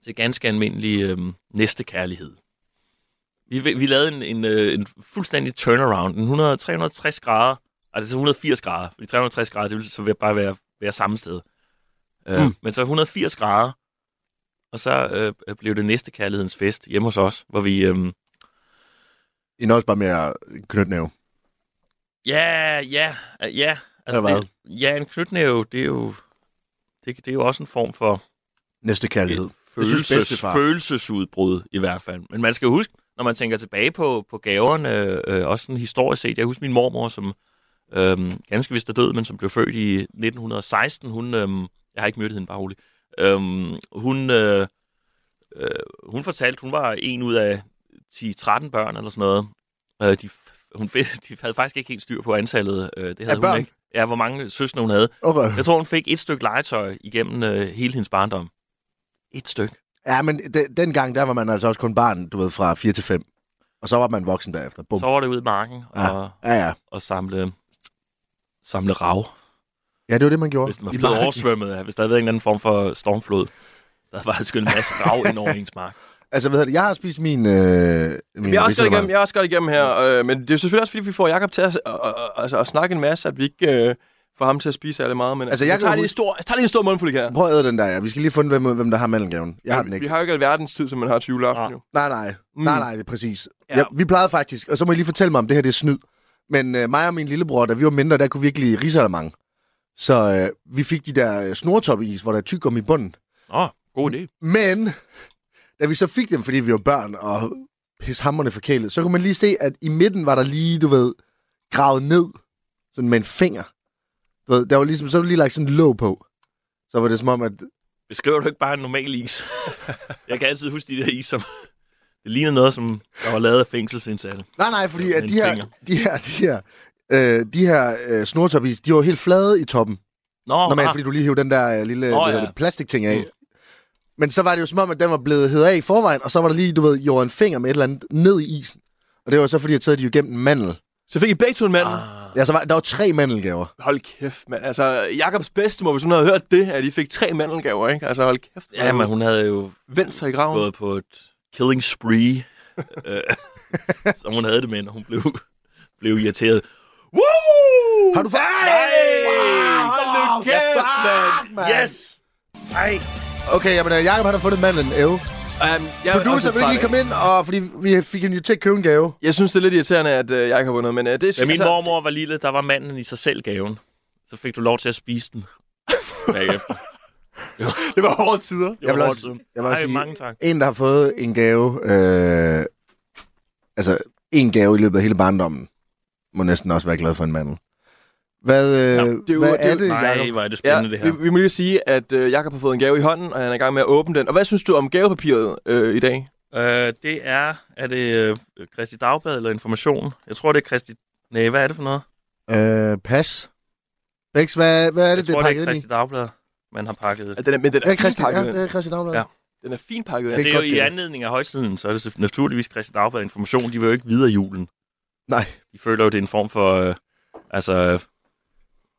Speaker 4: til ganske almindelig øh, næstekærlighed. Vi, vi lavede en, en, øh, en fuldstændig turnaround, en 100, 360 grader, altså 180 grader, fordi 360 grader, det ville så være- bare være, være samme sted. Øh,
Speaker 3: Mm.
Speaker 4: Men så 180 grader, og så øh, blev det næste kærlighedens fest hjemme hos os, hvor vi... Øh,
Speaker 1: I er også bare mere knytnæve.
Speaker 4: Ja, ja, øh, ja. Altså,
Speaker 1: Eller hvad?
Speaker 4: det, ja, en knytnæve, det er jo... Det, det er jo også en form for
Speaker 1: Næste kærlighed.
Speaker 4: et
Speaker 1: Jeg synes,
Speaker 4: følelses,
Speaker 1: bedstefar-
Speaker 4: følelsesudbrud, i hvert fald. Men man skal jo huske, når man tænker tilbage på, på gaverne, øh, også sådan historisk set. Jeg husker min mormor, som øhm, ganske vist er død, men som blev født i 1916. Hun, øhm, jeg har ikke mødt hende, bare roligt. Øhm, hun, øh, øh, hun fortalte, hun var en ud af 10-13 børn eller sådan noget. Øh, de, f- hun, <laughs> fik- de havde faktisk ikke helt styr på antallet. Øh, det havde hun
Speaker 1: børn?
Speaker 4: ikke. Ja, hvor mange søstre hun havde.
Speaker 1: Okay.
Speaker 4: Jeg tror, hun fik et stykke legetøj igennem øh, hele hendes barndom. Et stykke.
Speaker 1: Ja, men de, dengang, der var man altså også kun barn, du ved, fra 4 til 5. Og så var man voksen derefter. Bum.
Speaker 4: Så var det ud i marken og,
Speaker 1: Ja, ja.
Speaker 4: og samle, samle rav,
Speaker 1: Ja, det var det, man gjorde.
Speaker 4: hvis den var
Speaker 1: I
Speaker 4: blevet
Speaker 1: marken.
Speaker 4: oversvømmet. af- Hvis der havde været en eller anden form for stormflod. Der var altså en masse rav ind over ens mark.
Speaker 1: <laughs> Altså, hvad hedder det? Jeg har spist min... Øh, min
Speaker 3: Jeg er, også godt
Speaker 1: ridsalermang.
Speaker 3: igennem, jeg er også godt igennem her, øh, men det er jo selvfølgelig også, fordi vi får Jakob til at, og, og, altså, at snakke en masse, at vi ikke øh, får ham til at spise alle meget. Men
Speaker 1: Altså,
Speaker 3: altså, jeg,
Speaker 1: jeg
Speaker 3: jeg,
Speaker 1: kan
Speaker 3: tager lige en
Speaker 1: huske-
Speaker 3: stor, jeg tager lige en stor mundfuld ikke her.
Speaker 1: Prøv at æde den der, ja. Vi skal lige finde, hvem, hvem der har mandelgaven. Jeg har den
Speaker 3: Vi
Speaker 1: ikke.
Speaker 3: har jo ikke alverdens tid, som man har til
Speaker 4: Nej.
Speaker 3: juleaften. Jo.
Speaker 1: Nej, nej. Mm.
Speaker 3: Mm.
Speaker 1: Nej, nej, det er præcis. Ja.
Speaker 3: Ja.
Speaker 1: Ja, vi plejede faktisk, og så må I lige fortælle mig, om det her det er snyd. Men øh, mig og min lillebror, da vi var mindre, der kunne virkelig risalemang. Så øh, vi fik de der øh, snortoppeis, hvor der er tyggegummi i bunden.
Speaker 4: Nå, god idé.
Speaker 1: Men, da vi så fik dem, fordi vi var børn og pishammerne forkælet, så kunne man lige se, at i midten var der lige, du ved, gravet ned, sådan med en finger. Du ved, der var ligesom, så var der lige lagt sådan en låg på. Så var det som om, at
Speaker 4: Beskriver du ikke bare en normal is? <laughs> jeg kan altid huske de der is, som... Det ligner noget, som der var lavet af fængselsindsatte.
Speaker 1: Nej, nej, fordi
Speaker 4: Med
Speaker 1: at
Speaker 4: en
Speaker 1: de her,
Speaker 4: finger.
Speaker 1: de her, de her, øh, de her øh, snortopis, de var helt flade i toppen.
Speaker 4: Nå,
Speaker 1: Normalt,
Speaker 4: ah,
Speaker 1: fordi du lige hiver den der øh, lille
Speaker 4: Nå,
Speaker 1: oh, ja.
Speaker 4: ja.
Speaker 1: det, plastikting af.
Speaker 4: Mm.
Speaker 1: Men så var det jo som om, at den var blevet hævet af i forvejen, og så var der lige, du ved, jo en finger med et eller andet ned i isen. Og det var så, fordi jeg taget de jo gennem en mandel.
Speaker 3: Så fik I begge to en mand. Ah.
Speaker 4: ah,
Speaker 1: Ja, så var, der var tre mandelgaver.
Speaker 3: Hold kæft, mand. Altså, Jakobs bedstemor, hvis hun havde hørt det, at I fik tre mandelgaver, ikke? Altså, hold kæft. hvor
Speaker 4: ja, men hun havde jo
Speaker 3: vendt sig i graven.
Speaker 4: gået på et killing
Speaker 1: <laughs>
Speaker 4: spree, øh, som hun havde det med, når hun blev, blev irriteret. Woo!
Speaker 1: Har du fået...
Speaker 4: Hey!
Speaker 1: Wow,
Speaker 3: Hold nu kæft, mand.
Speaker 1: fuck, mand!
Speaker 4: Yes! Ej!
Speaker 1: Okay, jamen, øh, Jacob han har fundet mandlen, Ev.
Speaker 3: Um, jeg, er også
Speaker 1: Producer, vil du
Speaker 3: træt
Speaker 1: lige
Speaker 3: af-
Speaker 1: komme ind, og, fordi vi fik en jo til at købe en gave.
Speaker 3: Jeg synes, det er lidt irriterende, at øh, jeg ikke har vundet, men øh, det er...
Speaker 4: Da
Speaker 1: Altså-
Speaker 4: min mormor var lille, der var manden i sig selv gaven. Så fik du lov til at spise
Speaker 1: <laughs>
Speaker 4: den. Bagefter.
Speaker 3: det var hårde tider.
Speaker 4: Det
Speaker 1: Jeg
Speaker 4: var
Speaker 1: vil
Speaker 4: hårdt
Speaker 1: også-
Speaker 4: siden.
Speaker 1: jeg vil også
Speaker 4: Ej,
Speaker 1: sige-
Speaker 4: mange tak.
Speaker 1: en, der har fået en gave, øh, altså en gave i løbet af hele barndommen, må næsten også være glad for en mandel. Hvad, øh,
Speaker 3: Nå, det er
Speaker 1: det
Speaker 3: jo-
Speaker 1: hvad
Speaker 3: det er
Speaker 1: er
Speaker 3: jo-
Speaker 1: det,
Speaker 4: Nej,
Speaker 1: Jacob?
Speaker 4: hvor er det
Speaker 3: Ja,
Speaker 4: spændende, det
Speaker 3: vi,
Speaker 4: her.
Speaker 3: vi må lige sige, at øh, Jakob har fået en gave i hånden, og han er i gang med at åbne den. Og hvad synes du om gavepapiret øh, i dag?
Speaker 4: Øh, det er, er det øh, Kristi Dagblad eller Information? Jeg tror, det er Kristi... Nej, hvad er det for noget?
Speaker 1: Øh, pas. Bex, hvad, hvad er det,
Speaker 4: jeg
Speaker 1: det er
Speaker 4: tror, det er
Speaker 1: pakket ind i?
Speaker 4: Kristi Dagblad, man har pakket.
Speaker 3: Altså, den er, men den er,
Speaker 1: Ja,
Speaker 3: ja, fint
Speaker 1: Christi, ja,
Speaker 3: pakket
Speaker 1: det er
Speaker 3: ind.
Speaker 1: Christian Dagblad.
Speaker 4: Ja.
Speaker 3: Den er fint pakket
Speaker 1: Det
Speaker 3: ind.
Speaker 4: Det er
Speaker 1: godt,
Speaker 4: jo i
Speaker 1: det der.
Speaker 4: anledning af højtiden, så er det så naturligvis Christian Dagblad Information. De vil jo ikke videre julen.
Speaker 1: Nej.
Speaker 4: De føler jo, det er en form for øh, altså, øh,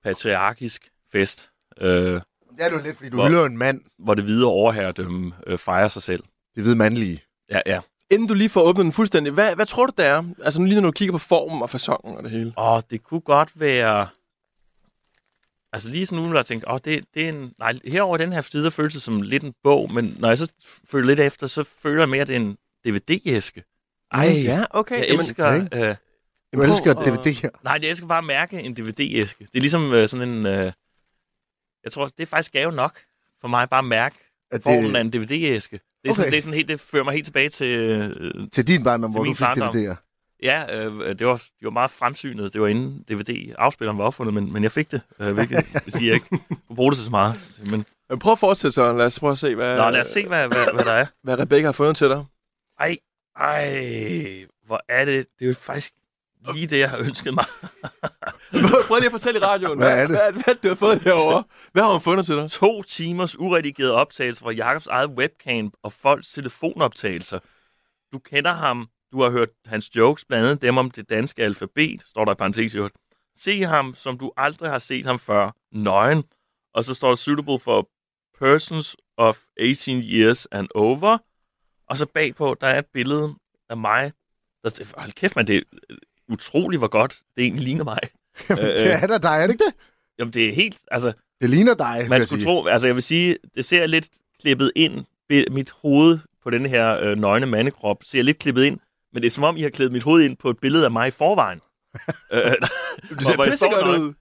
Speaker 4: patriarkisk fest, øh,
Speaker 1: Det er du lidt, fordi du
Speaker 4: Hvor-
Speaker 1: hylder en mand.
Speaker 4: hvor det videre overherredømme øh, fejrer sig selv.
Speaker 1: Det ved mandlige.
Speaker 4: Ja, ja.
Speaker 3: Inden du lige får åbnet den fuldstændig, hvad, hvad tror du, det er? Altså, nu lige når du kigger på formen og fasongen og det hele.
Speaker 4: Og det kunne godt være... Altså lige sådan umiddelbart tænkte, åh, det, det er en... Nej, herover den her side, der føles det som lidt en bog, men når jeg så føler lidt efter, så føler jeg mere, at det er en DVD-æske. Ej, Mm. jeg
Speaker 3: ja, okay.
Speaker 4: elsker...
Speaker 1: okay.
Speaker 4: Øh,
Speaker 1: Du
Speaker 3: prøv
Speaker 1: elsker
Speaker 3: at-
Speaker 1: DVD her.
Speaker 4: Nej, jeg elsker bare at mærke en DVD-æske. Det er ligesom øh, sådan en... Øh, jeg tror, det er faktisk gave nok for mig bare at mærke
Speaker 1: At
Speaker 4: formen af
Speaker 1: det,
Speaker 4: en DVD-æske. Det, er
Speaker 1: Okay.
Speaker 4: sådan, det, er sådan helt, det fører mig helt tilbage til... Øh,
Speaker 1: til din barndom,
Speaker 4: til
Speaker 1: hvor du
Speaker 4: min
Speaker 1: fik
Speaker 4: barndom.
Speaker 1: DVD'er.
Speaker 4: ja, øh, det var, det var meget fremsynet. Det var inden DVD-afspilleren var opfundet, men, men jeg fik det,
Speaker 1: <laughs>
Speaker 4: øh, hvilket vil sige, jeg ikke kunne bruge det til så meget. Men,
Speaker 3: Men prøv at fortsætte så. Lad os prøve at se, hvad,
Speaker 4: nå, lad os se, hvad, hvad, hvad der er.
Speaker 3: hvad Rebecca har fundet til dig.
Speaker 4: Ej, ej, hvor er det... Det er jo faktisk lige det, jeg har ønsket mig.
Speaker 3: Prøv lige at fortælle i radioen.
Speaker 1: Hvad er det?
Speaker 3: Hvad, hvad, du har fået herovre? Hvad har hun fundet til dig?
Speaker 4: to timers uredigeret optagelse fra Jakobs eget webcam og folks telefonoptagelser. Du kender ham. Du har hørt hans jokes, blandt andet dem om det danske alfabet, står der i parentes i øvrigt. Se ham, som du aldrig har set ham før, nøgen. Og så står der suitable for persons of 18 years and over. Og så bagpå, der er et billede af mig. Der, hold kæft, man, det er utroligt, hvor godt det egentlig ligner
Speaker 1: <laughs>
Speaker 4: mig.
Speaker 1: <laughs> Jamen,
Speaker 4: Øh,
Speaker 1: det er da dig, er det ikke det?
Speaker 4: Jamen, det er helt, altså,
Speaker 1: Det ligner dig, vil
Speaker 4: man
Speaker 1: jeg
Speaker 4: skulle
Speaker 1: sige.
Speaker 4: tro, altså jeg vil sige, det ser lidt klippet ind, Be- mit hoved på den her øh, nøgne mandekrop ser lidt klippet ind, men det er som om, I har klædet mit hoved ind på et billede af mig i
Speaker 3: <laughs>
Speaker 4: forvejen. øh,
Speaker 3: Du
Speaker 4: hvor
Speaker 3: ser
Speaker 4: jeg står
Speaker 3: pissegodt
Speaker 4: nøgen.
Speaker 3: ud.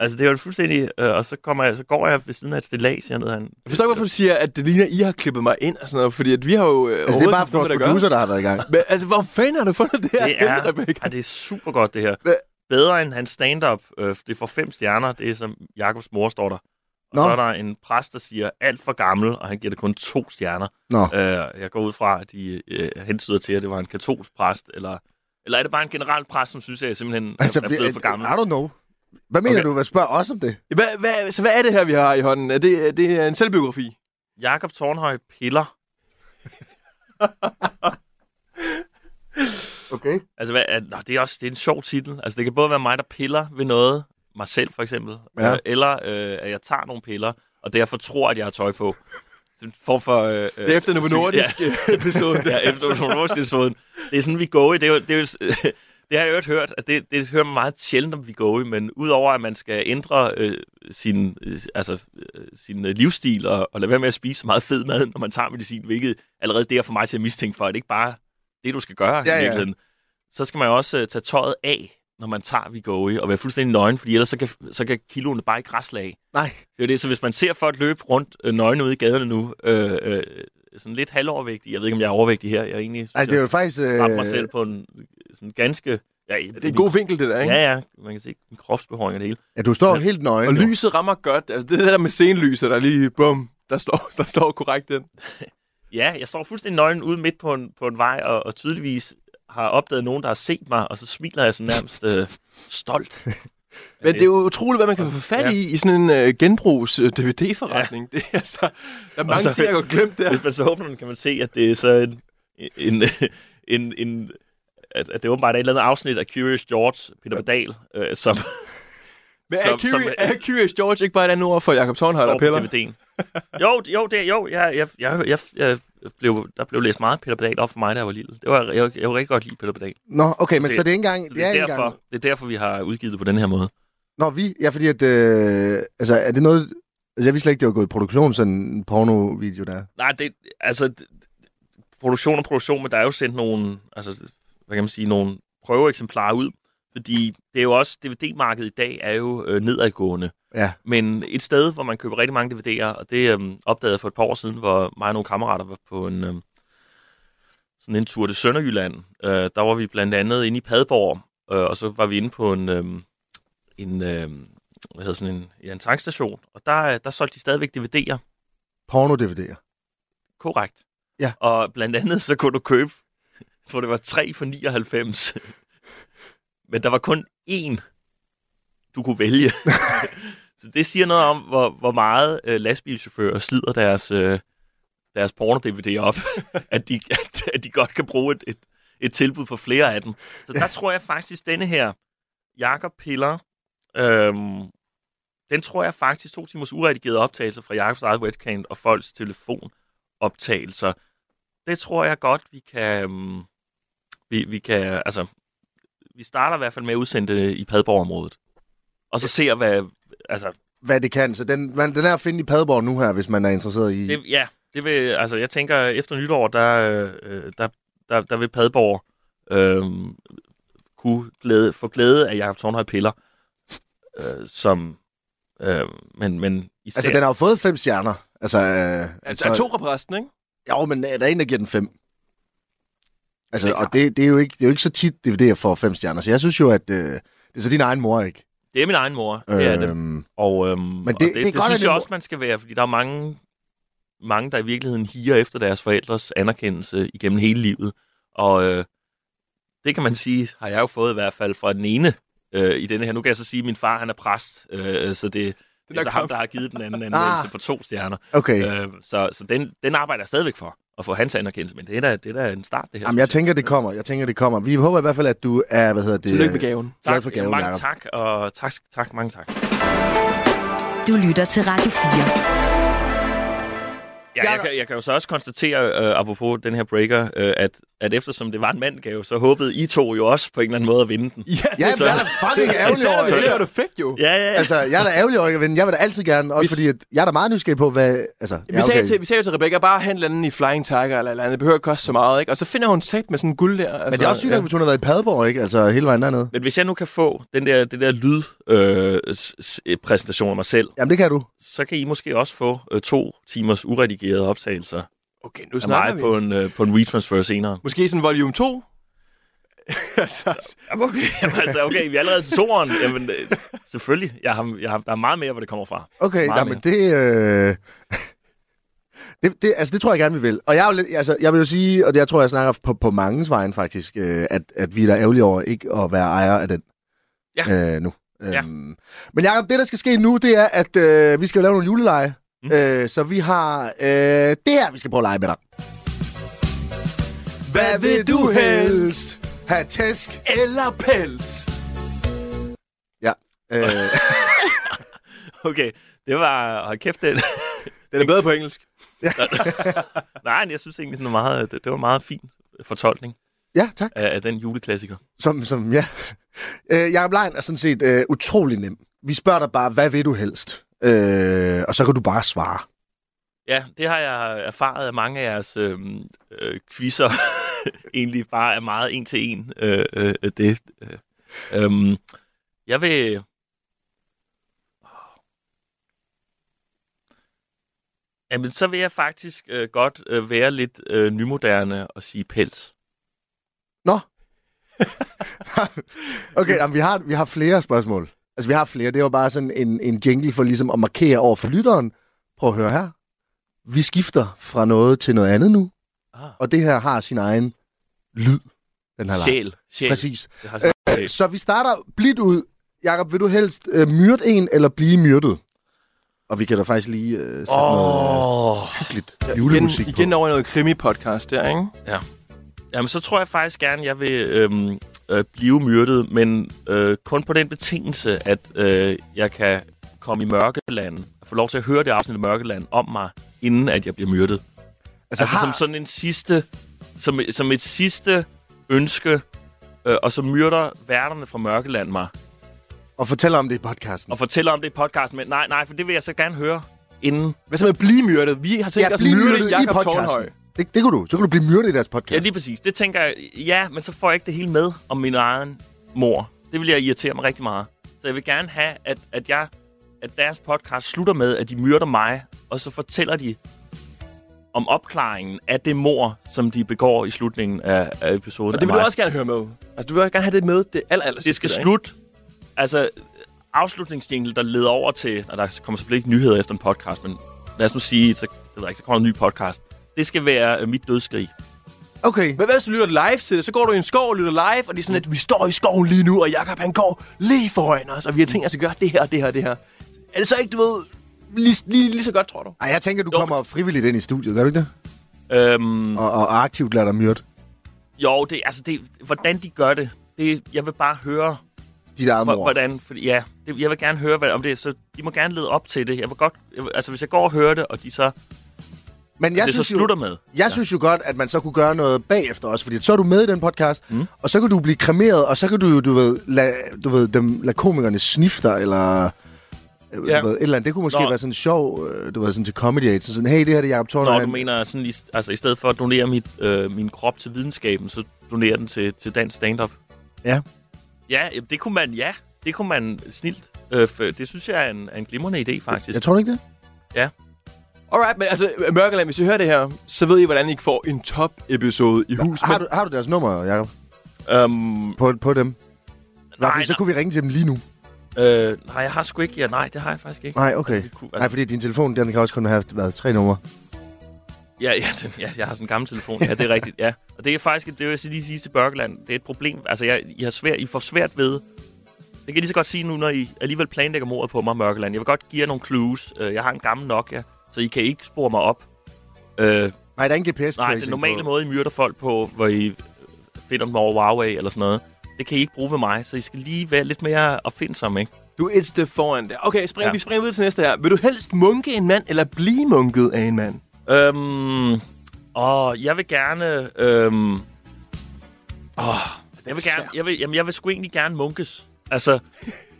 Speaker 4: Altså, det var fuldstændig... Øh, og så, kommer jeg, så går jeg ved siden af et stillads hernede. Han.
Speaker 3: Jeg forstår ikke, hvorfor du siger, at det ligner, I har klippet mig ind og sådan noget, fordi at vi har jo... Øh,
Speaker 1: Altså, det er bare vores
Speaker 3: overhovedet ikke noget med
Speaker 1: producer,
Speaker 3: det at
Speaker 1: der har været i
Speaker 4: <laughs>
Speaker 1: gang.
Speaker 3: gøre. Men, altså, hvor fanden har du fundet det her?
Speaker 4: Det er,
Speaker 3: henne, Rebecca?
Speaker 4: ja, det er super godt, det her.
Speaker 1: Hva-
Speaker 4: Bedre end hans stand-up. Øh, det får fem stjerner. Det er som Jakobs mor står der. Og
Speaker 1: Nå.
Speaker 4: så er der en præst, der siger, alt for gammel, og han giver det kun to stjerner.
Speaker 1: Nå.
Speaker 4: Øh, jeg går ud fra, at de øh, hensyder til, at det var en katolsk præst, eller, eller er det bare en generel præst, som synes, at jeg simpelthen altså,
Speaker 1: Altså,
Speaker 4: er, er
Speaker 1: vi-
Speaker 4: blevet for gammel?
Speaker 1: I don't know. Hvad mener
Speaker 4: Okay.
Speaker 1: du? Hvad spørger os om det?
Speaker 3: Hvad, hvad, så hvad er det her, vi har i hånden? Er det, er det en selvbiografi?
Speaker 4: Jakob Tornhøj piller.
Speaker 1: Okay.
Speaker 4: Altså, hvad, er, nå, det er også det er en sjov titel. Altså, det kan både være mig, der piller ved noget, mig selv for eksempel,
Speaker 1: Ja.
Speaker 4: ja. øh, eller øh, at jeg tager nogle piller, og derfor tror, at jeg har tøj på. Det er en form for... Øh, det
Speaker 3: Det er efter Novo Nordisk ja. episode.
Speaker 4: Ja, ja efter Novo Nordisk-episoden. Det er sådan, vi går i. Det, er, jo- det, er, jo- <laughs> det har jeg jo hørt, at det, det hører man meget sjældent om vi går i, men udover at man skal ændre øh, sin, øh, altså, øh, sin øh, livsstil og, og lade være med at spise så meget fed mad, når man tager medicin, hvilket allerede det er for mig til at mistænke for, at det ikke bare er det, du skal gøre
Speaker 1: Ja,
Speaker 4: ja,
Speaker 1: ja.
Speaker 4: i virkeligheden. Ja. Så skal man jo også øh, tage tøjet af, når man tager Vigori, og være fuldstændig nøgen, fordi ellers så kan, så kan kiloene bare ikke rasle af.
Speaker 1: Nej.
Speaker 4: Det er jo det, så hvis man ser folk løbe rundt øh, nøgne ude i gaderne nu, øh, øh, sådan lidt halvovervægtig, jeg ved ikke, om jeg er overvægtig her, jeg er egentlig, synes,
Speaker 1: Nej, det er
Speaker 4: jeg
Speaker 1: jo faktisk... Øh,
Speaker 4: rammer mig selv på en øh, sådan ganske... Ja,
Speaker 3: <laughs> Det er en god vinkel, det der, ikke?
Speaker 4: Ja, ja, man kan se min kropsbehåring og det hele.
Speaker 1: ja, du står helt nøgen.
Speaker 3: Og
Speaker 1: jo.
Speaker 3: lyset rammer godt. Altså, det der med scenelyset, der lige, bum, der står, <laughs> der står korrekt den.
Speaker 4: Ja, jeg står fuldstændig nøgen ude midt på en, på en vej, og, og tydeligvis har opdaget nogen, der har set mig, og så smiler jeg sådan nærmest øh, stolt.
Speaker 3: Men det er jo utroligt, hvad man kan få fat
Speaker 4: Ja.
Speaker 3: i i sådan en øh, genbrugs-DVD-forretning. Det er altså, der er mange
Speaker 4: så-
Speaker 3: ting, jeg har glemt der.
Speaker 4: Hvis man så åbner den, kan man se, at det er så en... en, en, en at, at det åbenbart er et eller andet afsnit af Curious George, Peter Pedal, øh, som
Speaker 3: Men er,
Speaker 4: som-
Speaker 3: Curious,
Speaker 4: som-
Speaker 3: er Curious George ikke bare et andet ord for Jacob Tornhøj, der
Speaker 4: står
Speaker 3: piller?
Speaker 4: på DVD'en. Jo, jo, det, jo jeg, jeg, jeg, jeg, jeg blev, der blev læst meget af Peter Pedal op for mig, da jeg var lille. Det var, jeg, jeg kunne rigtig godt lide Peter Pedal.
Speaker 1: Nå, okay, men
Speaker 4: Det-
Speaker 1: så det er ikke engang...
Speaker 4: Så
Speaker 1: Det er ikke
Speaker 4: derfor,
Speaker 1: engang...
Speaker 4: det er derfor, vi har udgivet det på den her måde.
Speaker 1: Nå, vi... Ja, fordi at... Øh, altså, er det noget... Altså, jeg vidste slet ikke, det var gået i produktion, sådan en porno-video der.
Speaker 4: Nej, det, altså, det, produktion og produktion, men der er jo sendt nogle, altså, hvad kan man sige, nogle prøveeksemplarer ud, fordi det er jo også, DVD-markedet i dag er jo øh, nedadgående.
Speaker 1: Ja.
Speaker 4: Men et sted, hvor man køber rigtig mange DVD'er, og det øhm, opdagede jeg for et par år siden, hvor mig og nogle kammerater var på en, øhm, sådan en tur til Sønderjylland. Øh, der var vi blandt andet inde i Padborg, øh, og så var vi inde på en, øhm, en, øhm, hvad hedder sådan en, ja, en tankstation, og der, øh, der solgte de stadigvæk DVD'er,
Speaker 1: Porno-DVD'er.
Speaker 4: Korrekt.
Speaker 1: Ja.
Speaker 4: Og blandt andet så kunne du købe, jeg tror det var 3 for 99. Men der var kun én, du kunne vælge. så det siger noget om, hvor, hvor meget øh, lastbilchauffører slider deres, øh, deres porno-DVD op, at de, at, at de godt kan bruge et, et, et tilbud på flere af dem. Så der tror jeg faktisk, denne her Jakob Piller, øhm, den tror jeg faktisk, to timers uredigerede optagelser fra Jakobs eget webcam og folks telefonoptagelser, det tror jeg godt, vi kan, øhm, vi, vi kan, altså, vi starter i hvert fald med at udsende det i Padborg-området. Og så ser, hvad, altså,
Speaker 1: Hvad det kan. Så den, man, den er at finde i Padborg nu her, hvis man er interesseret i...
Speaker 4: det, ja, det vil, altså, jeg tænker, efter nytår, der, øh, der, der, der vil Padborg øh, kunne glæde, få glæde af Jakob Tornhøj Piller, øh, som, øh, men, men især...
Speaker 1: Altså, den har jo fået fem stjerner. Altså, øh,
Speaker 3: Altså, der er to repræsten, ikke?
Speaker 1: Jo, men er der en, der giver den fem? Altså,
Speaker 4: Det er
Speaker 1: og det, det, er jo ikke, det er jo ikke så tit, DVD'er får fem stjerner. Så jeg synes jo, at øh, det er så din egen mor, ikke?
Speaker 4: Det er min egen mor, det er det.
Speaker 1: Øhm,
Speaker 4: Og, øhm, men det,
Speaker 1: det
Speaker 4: og det,
Speaker 1: er
Speaker 4: det, det
Speaker 1: godt, at
Speaker 4: synes
Speaker 1: det
Speaker 4: jeg
Speaker 1: må-
Speaker 4: også, man skal være, fordi der er mange, mange, der i virkeligheden higer efter deres forældres anerkendelse igennem hele livet. Og øh, det kan man sige, har jeg jo fået i hvert fald fra den ene øh, i denne her. Nu kan jeg så sige, at min far han er præst, øh, så det, det
Speaker 3: der
Speaker 4: er så ham, <laughs>
Speaker 3: kom.
Speaker 4: der har givet den anden anmeldelse på to stjerner.
Speaker 1: Okay.
Speaker 4: Øh, så så den, den arbejder jeg stadigvæk for. at få hans anerkendelse, men det er da, det er da en start, det her.
Speaker 1: Jamen, jeg tænker, det kommer. Jeg tænker, det kommer. Vi håber i hvert fald, at du er, hvad hedder det...
Speaker 3: Tillykke med gaven.
Speaker 1: glad
Speaker 4: tak,
Speaker 1: for gaven,
Speaker 4: mange
Speaker 1: Jacob.
Speaker 4: tak, og tak, tak, mange tak.
Speaker 2: Du lytter til Radio 4.
Speaker 4: Ja, jeg, kan, jeg kan jo så også konstatere, øh, apropos den her breaker, øh, at, at eftersom det var en mandgave, så håbede I to jo også på en eller anden måde at vinde den.
Speaker 3: Ja,
Speaker 1: Ja, men jeg er da
Speaker 3: <laughs>
Speaker 1: fucking ærgerlig
Speaker 3: så
Speaker 1: over,
Speaker 3: er det selv,
Speaker 1: at-
Speaker 3: hvad du fik jo.
Speaker 4: Ja, ja, ja.
Speaker 1: altså, jeg er da ærgerlig over, ikke at vinde. Jeg vil da altid gerne, også
Speaker 3: Hvis-
Speaker 1: fordi, at jeg er da meget nysgerrig på, hvad... Altså, ja,
Speaker 3: Vi, sagde til, vi sagde jo til Rebecca, bare hente landen i Flying Tiger eller et eller andet. Det behøver ikke koste så meget, ikke? Og så finder hun sat med sådan en guld der. Altså,
Speaker 1: Men det er også sygt,
Speaker 3: ja.
Speaker 1: at hvis hun har været i Padborg, ikke? Altså, hele vejen dernede.
Speaker 4: Men hvis jeg nu kan få den der, den der lydpræsentation øh, af mig selv,
Speaker 1: Jamen, det kan du.
Speaker 4: så kan I måske også få øh, to timers uredigerede optagelser
Speaker 3: Okay, nu
Speaker 4: af
Speaker 3: snakker
Speaker 4: mig
Speaker 3: vi.
Speaker 4: på en, øh, på en retransfer senere.
Speaker 3: Måske sådan volume 2? <laughs> altså,
Speaker 4: Jamen okay, <laughs> Jamen, altså, okay vi er allerede til soren. Jamen, øh, selvfølgelig. Jeg har, jeg har, der er meget mere, hvor det kommer fra.
Speaker 1: Okay,
Speaker 4: Meget
Speaker 1: nej, men det, øh... <laughs> det, det... Altså, det tror jeg gerne, vi vil. Og jeg, er jo lidt, altså, jeg vil jo sige, og det jeg tror, jeg snakker på, på mangens vejen faktisk, øh, at, at vi er da ærgerlige over ikke at være ejer af den ja. øh, nu.
Speaker 4: Ja.
Speaker 1: Øhm, men Jacob, det der skal ske nu, det er, at øh, vi skal jo lave nogle juleleje.
Speaker 4: Mm.
Speaker 1: Mm. Øh, så vi har øh, det her, vi skal prøve at lege med dig. Hvad vil du helst? Ha' tæsk?
Speaker 3: Eller pels?
Speaker 1: Øh,
Speaker 4: Okay, det var... Hold kæft, det.
Speaker 3: Den er bedre på
Speaker 4: <laughs>
Speaker 3: engelsk.
Speaker 4: Nej, men jeg synes egentlig, den var meget, det, det var en meget fin fortolkning
Speaker 1: ja, tak.
Speaker 4: af, af den juleklassiker.
Speaker 1: Som, som ja. Øh, Jacob Lein er sådan set øh, utrolig nem. Vi spørger dig bare, hvad vil du helst? Øh, og så kan du bare svare.
Speaker 4: Ja, det har jeg erfaret, at mange af jeres øh, øh, quizzer <laughs> egentlig bare er meget en til en. Øh, øh, det. Øh. Øhm, jeg vil... Jamen, så vil jeg faktisk øh, godt øh, være lidt øh, nymoderne og sige pels.
Speaker 1: Nå. <laughs> okay, jamen, vi, har, vi har flere spørgsmål. Altså, vi har flere. Det var bare sådan en, en jingle for ligesom at markere over for lytteren. Prøv at høre her. Vi skifter fra noget til noget andet nu,
Speaker 4: Ah,
Speaker 1: og det her har sin egen lyd. Den her leg.
Speaker 4: sjæl. sjæl.
Speaker 1: Præcis.
Speaker 4: Det har sådan en sjæl.
Speaker 1: Så vi starter blidt ud. Jakob, vil du helst øh, myrde en eller blive myrdet? Og vi kan da faktisk lige øh, sætte oh. noget
Speaker 4: Åh.
Speaker 1: øh, hyggeligt julemusik
Speaker 3: igen, igen
Speaker 1: på.
Speaker 3: over i noget krimi-podcast der, ikke?
Speaker 4: Jamen, så tror jeg faktisk gerne, jeg vil øhm, øh, blive myrdet, men øh, kun på den betingelse, at øh, jeg kan komme i mørkeland, få lov til at høre det afsnit af mørkeland om mig, inden at jeg bliver myrdet.
Speaker 1: Altså,
Speaker 4: Altså har... som sådan en sidste, som, som et sidste ønske, øh, og så myrder værterne fra mørkeland mig,
Speaker 1: Og fortæller om det i podcasten.
Speaker 4: og fortæller om det i podcasten, men nej, nej, for det vil jeg så gerne høre inden.
Speaker 3: Hvad så med blive myrdet? Vi har tænkt os at myrde Jakob Tornhøj.
Speaker 1: Det, det kunne du. Så kunne du blive myrdet i deres podcast.
Speaker 4: Ja, lige præcis. Det tænker jeg, ja, men så får jeg ikke det hele med om min egen mor. Det vil jeg irritere mig rigtig meget. Så jeg vil gerne have, at, at, jeg, at deres podcast slutter med, at de myrder mig, og så fortæller de om opklaringen af det mor, som de begår i slutningen af, af episoden. af
Speaker 3: Og det vil du
Speaker 4: mig.
Speaker 3: også gerne høre med. Altså, du vil også gerne have det med det aller, aller
Speaker 4: det skal slutte. Altså, afslutningsjingle, der leder over til... Og der kommer selvfølgelig ikke nyheder efter en podcast, men lad os nu sige, så, det ved jeg ikke, så kommer der en ny podcast. Det skal være øh, mit dødsskrig.
Speaker 1: Okay.
Speaker 3: Men hvad hvis du lytter live til det? Så går du i en skov og lytter live, og det er sådan, at vi står i skoven lige nu, og Jakob han går lige foran os, og vi har tænkt os at gøre det her, det her, det her. Er det så ikke, du ved, lige, lige, lige så godt, tror du?
Speaker 1: Ej, jeg tænker, du
Speaker 4: Jo.
Speaker 1: kommer frivilligt ind i studiet, gør du ikke det?
Speaker 4: Øhm,
Speaker 1: Og, og aktivt lader dig myrde
Speaker 4: Jo, det, altså det, hvordan de gør det, det, jeg vil bare høre,
Speaker 1: dit eget
Speaker 4: hvor-
Speaker 1: mor.
Speaker 4: hvordan, fordi, ja, det, jeg vil gerne høre, hvad, om det, er, så de må gerne lede op til det. Jeg vil godt, jeg, vil- altså hvis jeg går og hører det, og de så, jeg
Speaker 1: Men jeg,
Speaker 4: det så
Speaker 1: synes, jo,
Speaker 4: slutter med.
Speaker 1: jeg ja. synes jo godt, at man så kunne gøre noget bagefter også, fordi så er du med i den podcast, mm. og så kan du blive kremeret, og så kan du jo, du ved, lade, du ved, dem, lade komikerne snifter, eller øh,
Speaker 4: Ja.
Speaker 1: du ved, et eller andet. Det kunne måske
Speaker 4: Nå.
Speaker 1: Nå. være sådan sjov, øh, du ved, sådan til Comedy Aid, så sådan, hey, det her det er Jacob Tornhøj.
Speaker 4: Når du mener, sådan, i, altså i stedet for at donere mit, øh, min krop til videnskaben, så donerer den til, til dansk stand-up.
Speaker 1: Ja.
Speaker 4: Ja, jamen, det kunne man, ja, det kunne man snilt. Øh, for, det synes jeg er en, er en glimrende idé, faktisk.
Speaker 1: Jeg tror du ikke det.
Speaker 3: Alright, men altså, Mørkeland, hvis I hører det her, så ved I, hvordan I får en top-episode i hus.
Speaker 1: Har
Speaker 3: Men
Speaker 1: du, har du deres nummer, Jacob?
Speaker 4: Øhm,
Speaker 1: På, på dem? Nej,
Speaker 4: nej,
Speaker 1: så kunne vi ringe til dem lige nu.
Speaker 4: nej, øh, nej, jeg har sgu ikke, ja, nej, det har jeg faktisk ikke.
Speaker 1: Nej, okay.
Speaker 4: Vi kunne, altså-
Speaker 1: Nej, fordi din telefon, den kan også kun have været tre numre.
Speaker 4: Ja, ja, den, ja, jeg har sådan en gammel telefon. Ja, det er rigtigt, ja. Og det er faktisk, det vil jeg lige sige til Børkeland, det er et problem. Altså, jeg, I, har svært, I får svært ved, det kan jeg lige så godt sige nu, når I alligevel planlægger mordet på mig, Mørkeland. Jeg vil godt give jer nogle clues. Øh, Jeg har en gammel Nokia, så I kan ikke spore mig op. Øh,
Speaker 1: Nej, der er ingen GPS-tracing
Speaker 4: Nej, den normale
Speaker 1: på.
Speaker 4: måde, I myrder folk på, hvor I øh, finder dem over Huawei eller sådan noget, det kan I ikke bruge ved mig, så I skal lige være lidt mere opfindsomme, ikke?
Speaker 3: Du er et step foran der. Okay, spring, ja.
Speaker 4: Ja.
Speaker 3: vi springer videre til næste her. Vil du helst munke en mand, eller blive munket af en mand?
Speaker 4: Øhm, og jeg vil gerne... Øhm, åh, jeg vil gerne... Jeg vil, jamen, jeg vil sgu egentlig gerne munkes. Altså,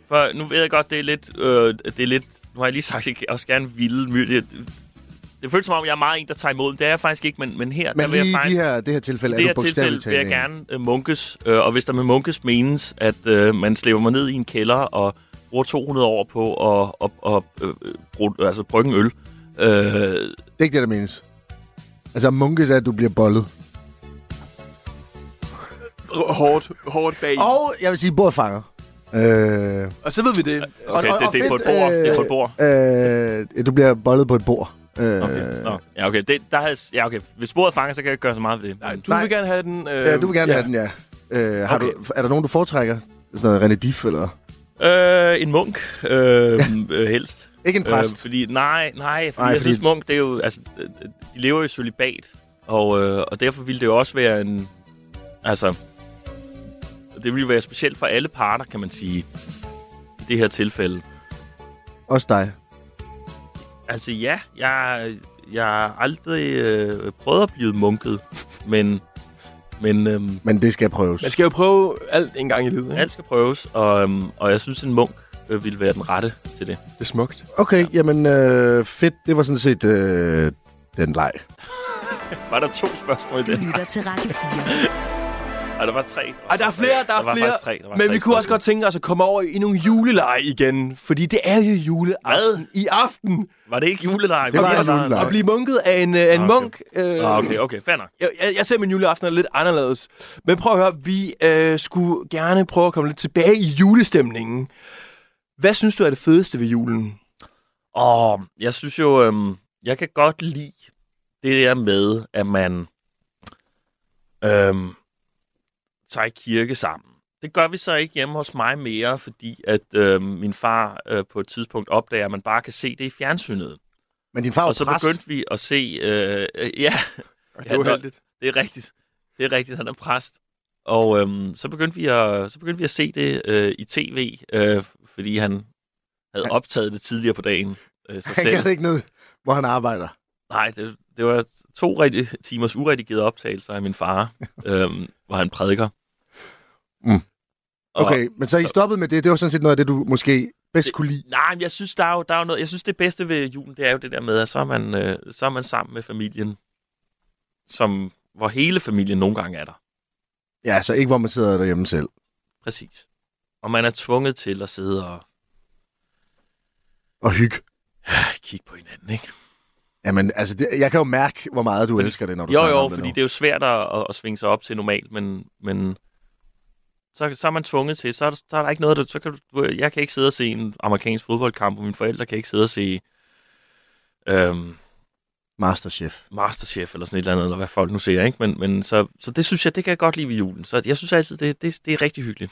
Speaker 4: for nu ved jeg godt, det er lidt... Øh, det er lidt nu har jeg lige sagt, at jeg også gerne ville... my- Det, det føles som om, jeg er meget en, der tager imod. men Det er jeg faktisk ikke, men, men her... der
Speaker 1: Men
Speaker 4: vil jeg
Speaker 1: lige i
Speaker 4: faktisk,
Speaker 1: de her, det her tilfælde
Speaker 4: det
Speaker 1: er
Speaker 4: her
Speaker 1: du
Speaker 4: tilfælde
Speaker 1: bogstaveligt
Speaker 4: vil jeg
Speaker 1: talt en.
Speaker 4: gerne øh, munkes, øh, og hvis der med munkes menes, at øh, man slæber mig ned i en kælder og bruger 200 år på at og, og, øh, bruge, altså, brygge en øl,
Speaker 1: Det
Speaker 4: øh,
Speaker 1: er ikke det, der menes. Altså, munkes er, at du bliver bollet.
Speaker 3: R- Hårdt, hårdt bag. Oh.
Speaker 1: Og jeg vil sige, både fanger. Øh, okay,
Speaker 3: Og så ved vi det.
Speaker 4: Okay, det- det er på et bord. Det er på et bord.
Speaker 1: Øh, du bliver bollet på et bord. Øh,
Speaker 4: Okay. Nå. Ja, okay. Det, der havde, ja, okay. Hvis sporet fanger, så kan jeg ikke gøre så meget ved det.
Speaker 3: Nej, du Nej.
Speaker 1: Nej.
Speaker 3: vil gerne have den. Øh,
Speaker 1: Ja, du vil gerne
Speaker 3: ja.
Speaker 1: have den, ja. Øh, har
Speaker 4: Okay.
Speaker 1: du, er der nogen, du foretrækker? Sådan noget René Diff, eller?
Speaker 4: Øh, en munk, øh, øh, helst.
Speaker 1: Ikke <laughs> en
Speaker 4: Øh,
Speaker 1: præst.
Speaker 4: fordi, nej, nej, fordi
Speaker 1: Nej,
Speaker 4: nej,
Speaker 1: fordi-
Speaker 4: jeg synes, munk, det er jo, altså, øh, de lever jo i solibat, og, øh, og derfor ville det jo også være en, altså, det ville være specielt for alle parter, kan man sige, i det her tilfælde.
Speaker 1: Øh, Også dig.
Speaker 4: Altså ja, jeg, jeg har aldrig øh, prøvet at blive munket, men, men øhm,
Speaker 1: Men det skal prøves.
Speaker 3: Man skal jo prøve alt en gang i livet. Ikke?
Speaker 4: alt skal prøves, og, øhm, og jeg synes, en munk øh, ville være den rette til det.
Speaker 3: Det er smukt.
Speaker 1: Okay, jamen øh, fedt. Det var sådan set øh, den leg.
Speaker 4: Var der to spørgsmål i
Speaker 2: Du
Speaker 4: det? <laughs>
Speaker 2: lytter til Radio 4.
Speaker 4: Ej, der var tre.
Speaker 3: Ej, der er flere, der,
Speaker 4: der
Speaker 3: er
Speaker 4: var
Speaker 3: flere.
Speaker 4: faktisk tre, der var
Speaker 3: men
Speaker 4: tre
Speaker 3: vi kunne også
Speaker 4: spørgsmål.
Speaker 3: godt tænke os at komme over i nogle juleleje igen. Fordi det er jo juleaften i aften.
Speaker 4: Var det ikke julelej?
Speaker 1: Det var en juleleg.
Speaker 3: Og blive munket af en, øh, en
Speaker 4: Ah, okay.
Speaker 3: munk. Øh,
Speaker 4: Ah, okay, okay, fair nok.
Speaker 3: jeg, jeg, jeg ser min juleaften er lidt anderledes. Men prøv at høre, vi øh, skulle gerne prøve at komme lidt tilbage i julestemningen. Hvad synes du er det fedeste ved julen?
Speaker 4: Og jeg synes jo, øhm, jeg kan godt lide det der med, at man øhm, tager i kirke sammen. Det gør vi så ikke hjemme hos mig mere, fordi at øhm, min far øh, på et tidspunkt opdager, at man bare kan se det i fjernsynet.
Speaker 1: Men din far var
Speaker 4: Og så
Speaker 1: præst. <laughs>
Speaker 4: begyndte vi at se... Øh, øh, ja,
Speaker 3: Det
Speaker 4: er uheldigt. Det er rigtigt. Det er rigtigt, han er præst. Og øhm, så, begyndte vi at, så begyndte vi at se det øh, i tv, øh, fordi han havde
Speaker 1: Han-
Speaker 4: optaget det tidligere på dagen øh, sig
Speaker 1: Han
Speaker 4: selv.
Speaker 1: gad ikke ned, hvor han arbejder.
Speaker 4: Nej, det, det var to rigtig, timers uredigerede optagelser af min
Speaker 1: <laughs>
Speaker 4: far, øhm, hvor han prædiker.
Speaker 1: Mm.
Speaker 4: Og-
Speaker 1: Okay, men så I stoppede med det. Det var sådan set noget af det, du måske bedst
Speaker 4: Det-
Speaker 1: kunne lide.
Speaker 4: Nej, men jeg synes, der er jo, der er jo noget, jeg synes, det bedste ved julen, det er jo det der med, at så er man, øh, så er man sammen med familien, som, hvor hele familien nogle gange er der.
Speaker 1: Ja, så ikke hvor man sidder derhjemme selv.
Speaker 4: Præcis. Og man er tvunget til at sidde og
Speaker 1: Og hygge.
Speaker 4: kigge på hinanden, ikke?
Speaker 1: Jamen, altså, det, jeg kan jo mærke, hvor meget du
Speaker 4: Men-
Speaker 1: elsker det, når du
Speaker 4: Jo,
Speaker 1: snakker
Speaker 4: jo,
Speaker 1: om det
Speaker 4: fordi
Speaker 1: nu.
Speaker 4: det er jo svært at, at- at svinge sig op til normalt, men, men så, så er man tvunget til, så er, der, så er der ikke noget, der, så kan du, jeg kan ikke sidde og se en amerikansk fodboldkamp, og mine forældre kan ikke sidde og se øhm,
Speaker 1: Masterchef.
Speaker 4: Masterchef eller sådan et eller andet, eller hvad folk nu ser, ikke? Men, men så, så det synes jeg, det kan jeg godt lide ved julen. Så jeg synes altid, det, det, det er rigtig hyggeligt.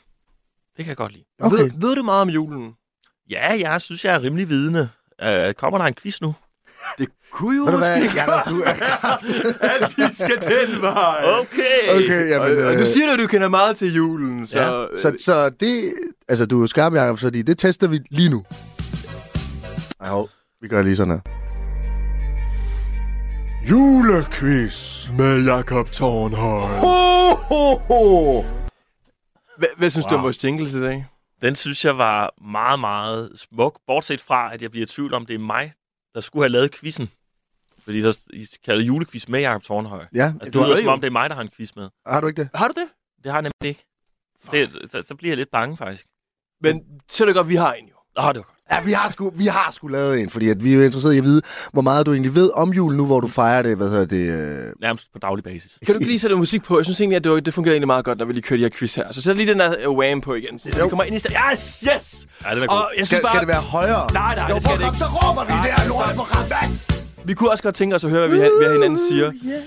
Speaker 4: Det kan jeg godt lide.
Speaker 1: Okay.
Speaker 3: Ved, ved du meget om julen?
Speaker 4: Ja, jeg synes, jeg er rimelig vidende. Øh, kommer der en quiz nu?
Speaker 3: Det kunne jo
Speaker 1: Ved du hvad,
Speaker 3: måske
Speaker 1: Jacob, du er...
Speaker 3: <laughs> at vi skal den vej.
Speaker 4: Okay!
Speaker 1: Okay, jamen,
Speaker 3: og, og
Speaker 1: øh,
Speaker 3: nu siger du, at du kender meget til julen, så...
Speaker 4: Ja,
Speaker 3: øh,
Speaker 1: så, så det... Altså, du er jo skarp, Jacob, fordi det tester vi lige nu. Ej, hov. Vi gør lige sådan her. Julequiz.
Speaker 3: Med Jakob Tornhøj. Hvad, hvad synes wow. du om
Speaker 4: Wow.
Speaker 3: vores jingle i dag?
Speaker 4: Den synes jeg var meget, meget smuk. Bortset fra, at jeg bliver i tvivl om, det er mig, der skulle have lavet quizzen. Fordi der I kalder julequiz med Jacob Tornhøj.
Speaker 1: Ja,
Speaker 4: Altså,
Speaker 3: du
Speaker 4: det lyder
Speaker 3: ved
Speaker 4: som
Speaker 3: jo.
Speaker 4: om, det er mig, der har en quiz med.
Speaker 1: har du ikke det?
Speaker 3: Har du det?
Speaker 4: Det har jeg nemlig ikke. Det, så, så bliver jeg lidt bange, faktisk.
Speaker 3: Men så er det godt, vi har en jo.
Speaker 4: Åh, det var godt.
Speaker 1: Ja, vi har sgu, vi har sgu lavet en, fordi at vi er jo interesserede i at vide, hvor meget du egentlig ved om julen nu, hvor du fejrer det, hvad hedder det... øh,
Speaker 4: Nærmest på daglig basis.
Speaker 3: Kan du ikke lige sætte noget musik på? Jeg synes egentlig, at det, var- det fungerede egentlig meget godt, når vi lige kørte de her quiz her. Så sæt lige den der uh, wham på igen. Så vi kommer ind i stedet. Yes, yes!
Speaker 4: Ja, den er god.
Speaker 3: Og jeg synes
Speaker 1: Skal,
Speaker 3: bare,
Speaker 1: skal det være højere?
Speaker 3: Nej, nej,
Speaker 1: jo,
Speaker 3: det skal
Speaker 1: prøv,
Speaker 3: det
Speaker 1: kom,
Speaker 3: ikke.
Speaker 1: Så råber vi det her lort på rabat!
Speaker 3: vi kunne også godt tænke os at høre, hvad, vi, hvad hinanden siger. Yeah.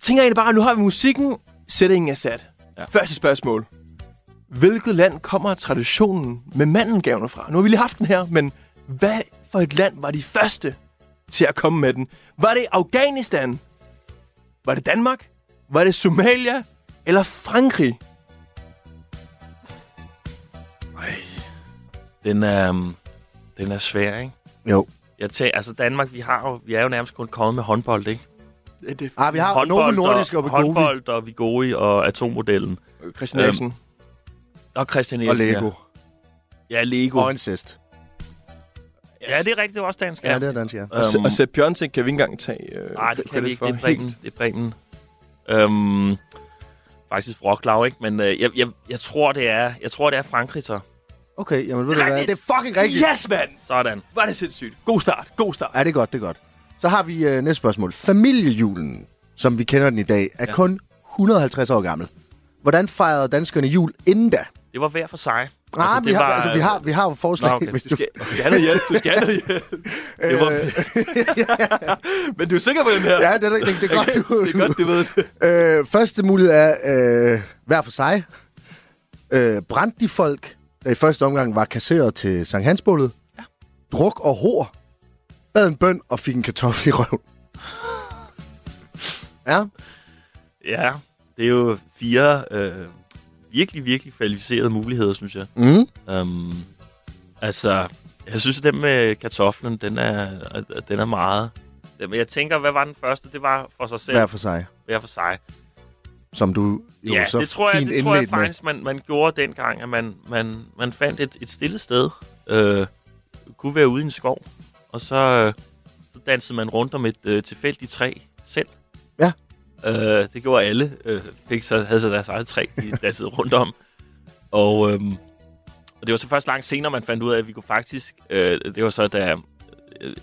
Speaker 3: Tænker egentlig bare, at nu har vi musikken. Sætningen er sat. Ja.
Speaker 4: Ja.
Speaker 3: Første spørgsmål. Hvilket land kommer traditionen med mandelgaverne fra? Nu har vi lige haft den her, men hvad for et land var de første til at komme med den? Var det Afghanistan? Var det Danmark? Var det Somalia? Eller Frankrig?
Speaker 4: Ej. Den er, øhm, den er svær, ikke?
Speaker 1: Jo.
Speaker 4: Jeg tager, altså Danmark, vi, har jo, vi er jo nærmest kun kommet med håndbold, ikke?
Speaker 3: Øh, Det, det,
Speaker 1: Ah, vi har Novo Nordisk og Begovi
Speaker 4: håndbold og Vigori og atommodellen.
Speaker 3: Christian Eriksen.
Speaker 4: Øhm, Og Christian
Speaker 1: og
Speaker 4: Nielsen,
Speaker 1: Lego.
Speaker 4: Ja, ja Lego.
Speaker 1: Og incest.
Speaker 4: Ja, det er rigtigt, det er også dansk. Øhm,
Speaker 1: Ja, det er dansk, ja.
Speaker 3: Og, Se- og Sepp Bjørnsen kan vi ikke engang tage... Øh,
Speaker 4: Nej, Ah, det kan
Speaker 3: credit
Speaker 4: vi ikke.
Speaker 3: for
Speaker 4: Det er
Speaker 3: helt.
Speaker 4: Bremen. Det er Bremen. Øhm, faktisk Frocklav, ikke? Men øh, jeg, jeg, jeg, tror, det er, jeg tror, det er Frankrig, så.
Speaker 1: Okay, jamen ved du hvad?
Speaker 3: rigtigt.
Speaker 1: Det er fucking rigtigt.
Speaker 3: Yes, mand!
Speaker 4: Sådan.
Speaker 3: Var det sindssygt. God start, god start.
Speaker 1: Ja, det er godt, det er godt. Så har vi øh, næste spørgsmål. Familiejulen, som vi kender den i dag, er ja. kun 150 år gammel. Hvordan fejrede danskerne jul inden
Speaker 3: Altså,
Speaker 1: da?
Speaker 4: Det var hver for sig.
Speaker 1: Nej, altså, vi,
Speaker 4: det
Speaker 1: har,
Speaker 4: var,
Speaker 1: altså, vi, har, vi har jo forslag,
Speaker 4: Nå, okay.
Speaker 1: hvis
Speaker 3: Du
Speaker 1: du... Øh.
Speaker 3: skal, du skal have noget hjælp, du skal have noget
Speaker 1: <laughs>
Speaker 3: hjælp. Det var... Men du er sikker på den her?
Speaker 1: Ja, det, er- det, det er godt, du...
Speaker 3: Det er godt, du ved
Speaker 1: <laughs>
Speaker 3: det.
Speaker 1: Øh, første mulighed er øh, hver for sig. Øh, brændte de folk, der i første omgang var kasseret til Sankt Hansbålet? Ja. Druk og hår. Bad en bøn og fik en kartoffel i
Speaker 3: <laughs>
Speaker 1: røven. Ja,
Speaker 4: Ja, det er jo fire øh, virkelig, virkelig kvalificerede muligheder, synes jeg.
Speaker 1: mm.
Speaker 4: Øhm, altså, jeg synes, at den med kartoflen, den er, øh, den er meget... Men jeg tænker, hvad var den første? Det var for sig selv,
Speaker 1: hver
Speaker 4: hver,
Speaker 1: for sig.
Speaker 4: hver for sig.
Speaker 1: Som du jo
Speaker 4: ja,
Speaker 1: så
Speaker 4: det tror jeg,
Speaker 1: fint
Speaker 4: det tror jeg
Speaker 1: indledte med.
Speaker 4: faktisk, man, man gjorde dengang, at man, man, man fandt et, et stille sted. Øh, kunne være ude i en skov. Og så, øh, så dansede man rundt om et øh, tilfældigt træ selv.
Speaker 1: Ja.
Speaker 4: Øh, det gjorde alle. Øh, fik så, havde så deres eget træ, de dansede rundt om. Og, øhm, og det var så først langt senere, man fandt ud af, at vi kunne faktisk... Øh, det var så, da øh,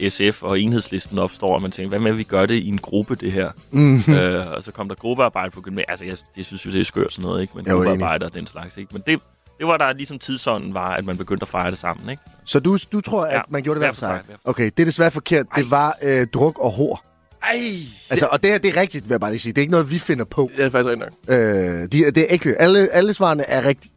Speaker 4: SF og enhedslisten opstår, og man tænkte, hvad med, at vi gør det i en gruppe, det her?
Speaker 1: Mhm.
Speaker 4: Øh, og så kom der gruppearbejde på gymnasiet. Altså, jeg, det synes jo, det er skørt sådan noget, ikke? Men
Speaker 1: Jeg er jo enig.
Speaker 4: gruppearbejde og den slags, ikke? Men det, det var der ligesom tidsånden var, at man begyndte at fejre det sammen, ikke?
Speaker 1: Så du, du tror, at
Speaker 4: Ja,
Speaker 1: man gjorde det hver for sig?
Speaker 4: hver for sig.
Speaker 1: Okay, det er desværre forkert. Ej. Det var øh, druk og hår.
Speaker 4: Ej!
Speaker 1: Altså, og det her, det er rigtigt, vil jeg bare lige sige. Det er ikke noget, vi finder på.
Speaker 3: Det er faktisk rent nok.
Speaker 1: Øh, de, det er ægte. Alle, alle svarene er rigtige.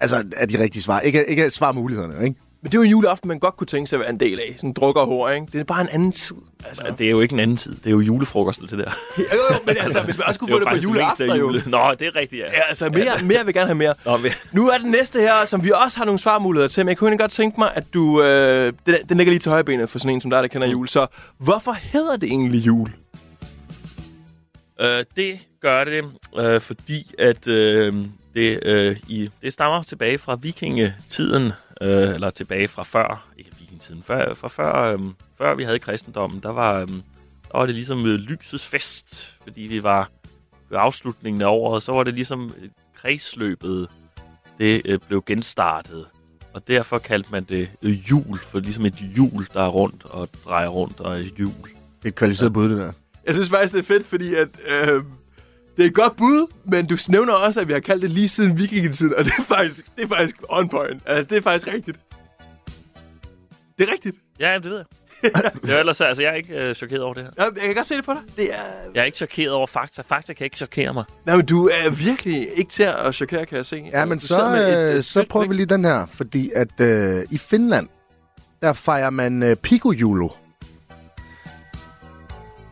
Speaker 1: Altså, er de rigtige svar. Ikke, ikke svarmulighederne, ikke?
Speaker 3: Men det er jo en juleaften, man godt kunne tænke sig at være en del af. Sådan drukker og hår, ikke? Det er bare en anden tid. Altså,
Speaker 4: Det er jo ikke en anden tid. Det er jo julefrokost, det der.
Speaker 3: jo, jo, <laughs> men altså, hvis man også kunne få det på
Speaker 4: faktisk
Speaker 3: juleaften,
Speaker 4: af
Speaker 3: jo.
Speaker 4: jule. Nå, det er rigtigt, ja.
Speaker 3: Ja, altså, mere, mere vil gerne have mere.
Speaker 4: Nå, men-
Speaker 3: Nu er den næste her, som vi også har nogle svarmuligheder til, men jeg kunne egentlig godt tænke mig, at du... Øh, den, den ligger lige til højrebenet for sådan en som dig, der
Speaker 4: Mm.
Speaker 3: kender jul. Så hvorfor hedder det egentlig jul?
Speaker 4: Øh, det gør det, øh, fordi at øh, det, øh, i, det stammer tilbage fra vikingetiden, øh, eller tilbage fra før, ikke vikingetiden, før, fra før, øh, før vi havde kristendommen, der var, øh, der var det ligesom øh, lysets fest, fordi det var ved afslutningen af året, så var det ligesom øh, kredsløbet, det øh, blev genstartet. Og derfor kaldte man det øh, jul, for ligesom et hjul, der er rundt og drejer rundt og er jul.
Speaker 1: Det er et kvalificeret bud, det der.
Speaker 3: Jeg synes faktisk, det er fedt, fordi at, øh, det er et godt bud, men du nævner også, at vi har kaldt det lige siden vikingetiden, og det er faktisk, det er faktisk on point. Altså, det er faktisk rigtigt. Det er rigtigt.
Speaker 4: Ja, det ved jeg. det er ellers, altså, jeg er ikke øh, chokeret over det her.
Speaker 3: Ja, Jeg kan godt se det på dig. Det er...
Speaker 4: Jeg er ikke chokeret over fakta. Fakta kan ikke chokere mig.
Speaker 3: Nej, men du er virkelig ikke til at chokere, kan jeg se.
Speaker 1: Ja, men
Speaker 3: Du sidder
Speaker 1: så,
Speaker 3: med
Speaker 1: øh,
Speaker 3: øh,
Speaker 1: så
Speaker 3: fedt
Speaker 1: prøver vi
Speaker 3: blik.
Speaker 1: lige den her. Fordi at øh, i Finland, der fejrer man øh, pikojulo.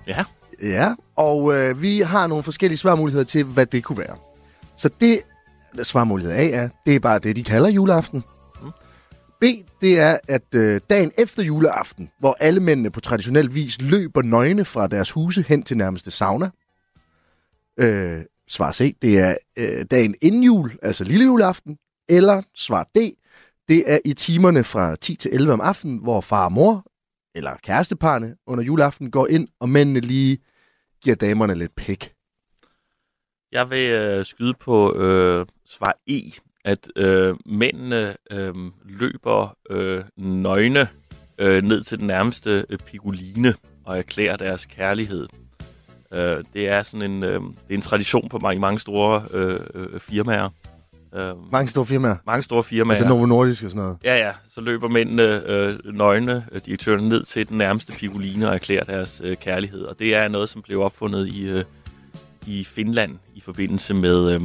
Speaker 4: Ja.
Speaker 1: Ja, og øh, vi har nogle forskellige svarmuligheder til, hvad det kunne være. Så det, svarmulighed A er, det er bare det, de kalder juleaften. B, det er, at øh, dagen efter juleaften, hvor alle mændene på traditionel vis løber nøgne fra deres huse hen til nærmeste sauna. Øh, svar C, det er øh, dagen inden jul, altså lille juleaften. Eller svar D, det er i timerne fra 10 til 11 om aftenen, hvor far og mor eller kæresteparne under juleaften går ind, og mændene lige giver damerne lidt pik.
Speaker 4: Jeg vil øh, skyde på øh, svar E, at øh, mændene øh, løber øh, nøgne øh, ned til den nærmeste øh, pikoline og erklærer deres kærlighed. Øh, det er sådan en, øh, det er en tradition på mange, mange store øh, øh, firmaer. Øh,
Speaker 1: Mange store firmaer.
Speaker 4: mange store firmaer.
Speaker 1: Altså Novo Nordisk og sådan noget.
Speaker 4: Ja, ja. Så løber mændene øh, nøgne, øh, direktøren, ned til den nærmeste pikoline og erklærer deres øh, kærlighed. Og det er noget, som blev opfundet i, øh, i Finland i forbindelse med, øh,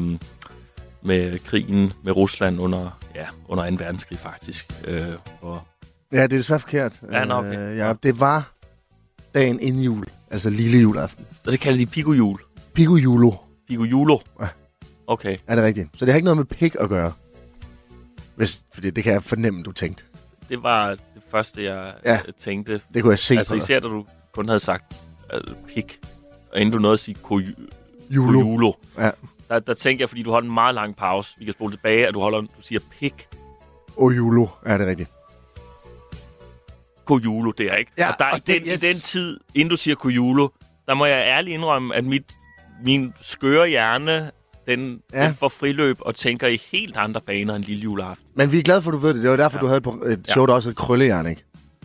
Speaker 4: med krigen med Rusland under, ja, under 2. verdenskrig, faktisk. Øh, og
Speaker 1: Ja, det er desværre forkert.
Speaker 4: Ja, nå, okay.
Speaker 1: Øh, ja, det var dagen inden jul. Altså lille juleaften.
Speaker 4: Og det kalder de pikujul.
Speaker 1: Pico Julo
Speaker 4: Pikujulo.
Speaker 1: Ja.
Speaker 4: Okay.
Speaker 1: er det rigtigt. Så det har ikke noget med pik at gøre. Hvis, fordi det kan jeg fornemme, du tænkte.
Speaker 4: Det var det første, jeg
Speaker 1: Ja.
Speaker 4: ja. tænkte.
Speaker 1: Det kunne jeg se
Speaker 4: altså
Speaker 1: på dig.
Speaker 4: især, da du kun havde sagt øh, pik, og inden du nåede at sige kujulo,
Speaker 1: Julo.
Speaker 4: kujulo
Speaker 1: Ja.
Speaker 4: der, der tænkte jeg, fordi du holdt en meget lang pause. Vi kan spole tilbage, at du, holder, en- du siger pik,
Speaker 1: Og Julo. Ja, det er rigtigt.
Speaker 4: kujulo der, ikke?
Speaker 1: Ja,
Speaker 4: og der,
Speaker 1: og
Speaker 4: i, den,
Speaker 1: det- yes.
Speaker 4: i den tid, inden du siger kujulo, der må jeg ærligt indrømme, at mit, min skøre hjerne, den,
Speaker 1: Ja.
Speaker 4: ja. den får friløb og tænker i helt andre baner end lille juleaften.
Speaker 1: Men vi er glade for, at du ved det. Det var derfor, ja.
Speaker 4: Ja.
Speaker 1: du havde et pro- et show, der også hed Krøllejern, ikke?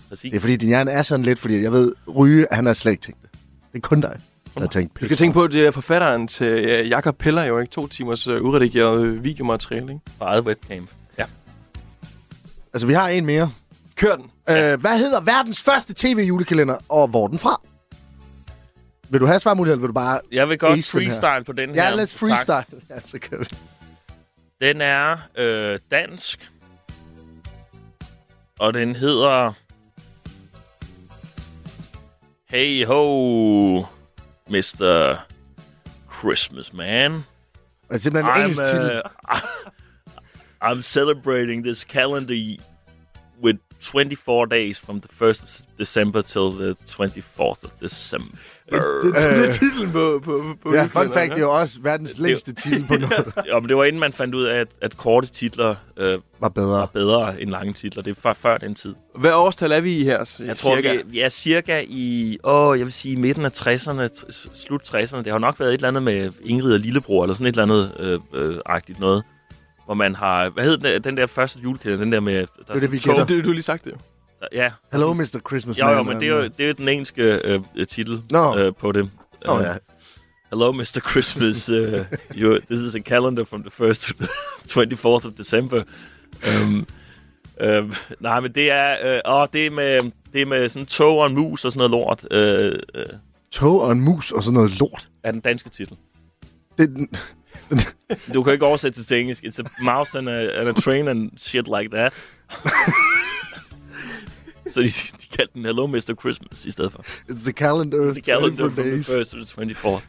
Speaker 4: Præcis.
Speaker 1: Det er fordi, din hjerne er sådan lidt, fordi jeg ved, Ryge, han har slet ikke tænkt det. Det er kun dig, der har tænkt
Speaker 3: Du
Speaker 1: pik.
Speaker 3: skal tænke på, at det er forfatteren til øh, Jakob Peller jo, ikke? To timers øh, uredigeret øh, videomateriale, ikke?
Speaker 4: Fra eget webcam. Ja.
Speaker 1: Altså, vi har en mere. <laughs>
Speaker 3: Kør den.
Speaker 1: Øh, hvad hedder verdens første tv-julekalender, og hvor er den fra? Vil du have svarmulighed, eller vil du bare...
Speaker 4: Jeg vil godt
Speaker 1: Ace, den her.
Speaker 4: freestyle på den her.
Speaker 1: Ja, lad os
Speaker 4: Tak.
Speaker 1: freestyle. <laughs> Ja, så kan vi.
Speaker 4: Den er øh, dansk. Og den hedder... Hey ho, Mr. Christmas Man.
Speaker 1: Og det er simpelthen en engelsk titel.
Speaker 4: uh, <laughs> I'm celebrating this calendar y- with 24 days from the 1st of s- December till the 24th of December.
Speaker 3: Det, det er titlen på, på,
Speaker 4: <laughs>
Speaker 3: på
Speaker 1: Øh, Ja, fun
Speaker 3: videokalenderen,
Speaker 1: fact, det er
Speaker 3: ja.
Speaker 1: jo også verdens længste titel på noget.
Speaker 4: Om det var inden man fandt ud af, at, at korte titler øh,
Speaker 1: Var bedre.
Speaker 4: var bedre end lange titler. Det var før den tid.
Speaker 3: Hvad årstal er vi i her?
Speaker 4: Jeg tror, vi, vi er cirka i, åh, jeg vil sige midten af 60'erne, t- s- slut 60'erne. Det har nok været et eller andet med Ingrid og Lillebror, eller sådan et eller andet øh, øh, agtigt noget. Hvor man har, hvad hed den, den der første julekalender, den der med... Der er
Speaker 1: det, vi
Speaker 4: sådan
Speaker 1: gætter.
Speaker 4: tog-
Speaker 3: Det, det, du har lige sagt det. jo.
Speaker 4: der- Ja,
Speaker 1: Hello, Mr. Christmas
Speaker 4: jo,
Speaker 1: Man.
Speaker 4: jo, men det er jo, det er jo den engelske øh, øh, titel
Speaker 1: Nå.
Speaker 4: øh, på det.
Speaker 1: Nå,
Speaker 4: Øh,
Speaker 1: ja.
Speaker 4: Hello, Mr. Christmas. Uh, you, this is a calendar from the first <laughs> to the 24th of December. Um, um, nej, men det er, øh, åh, det er, med, det er med sådan en tog og en mus og sådan noget lort, øh, øh,
Speaker 1: Tog og en mus og sådan noget lort.
Speaker 4: er den danske titel.
Speaker 1: Det, er den- <laughs>
Speaker 4: Du kan ikke oversætte det til engelsk. It's a mouse and a, and a train and shit like that. <laughs> Så de, de kaldte den Hello, Mr. Christmas i stedet for.
Speaker 1: it's the calendar.
Speaker 4: The calendar from the
Speaker 1: days.
Speaker 4: 1st to the 24th.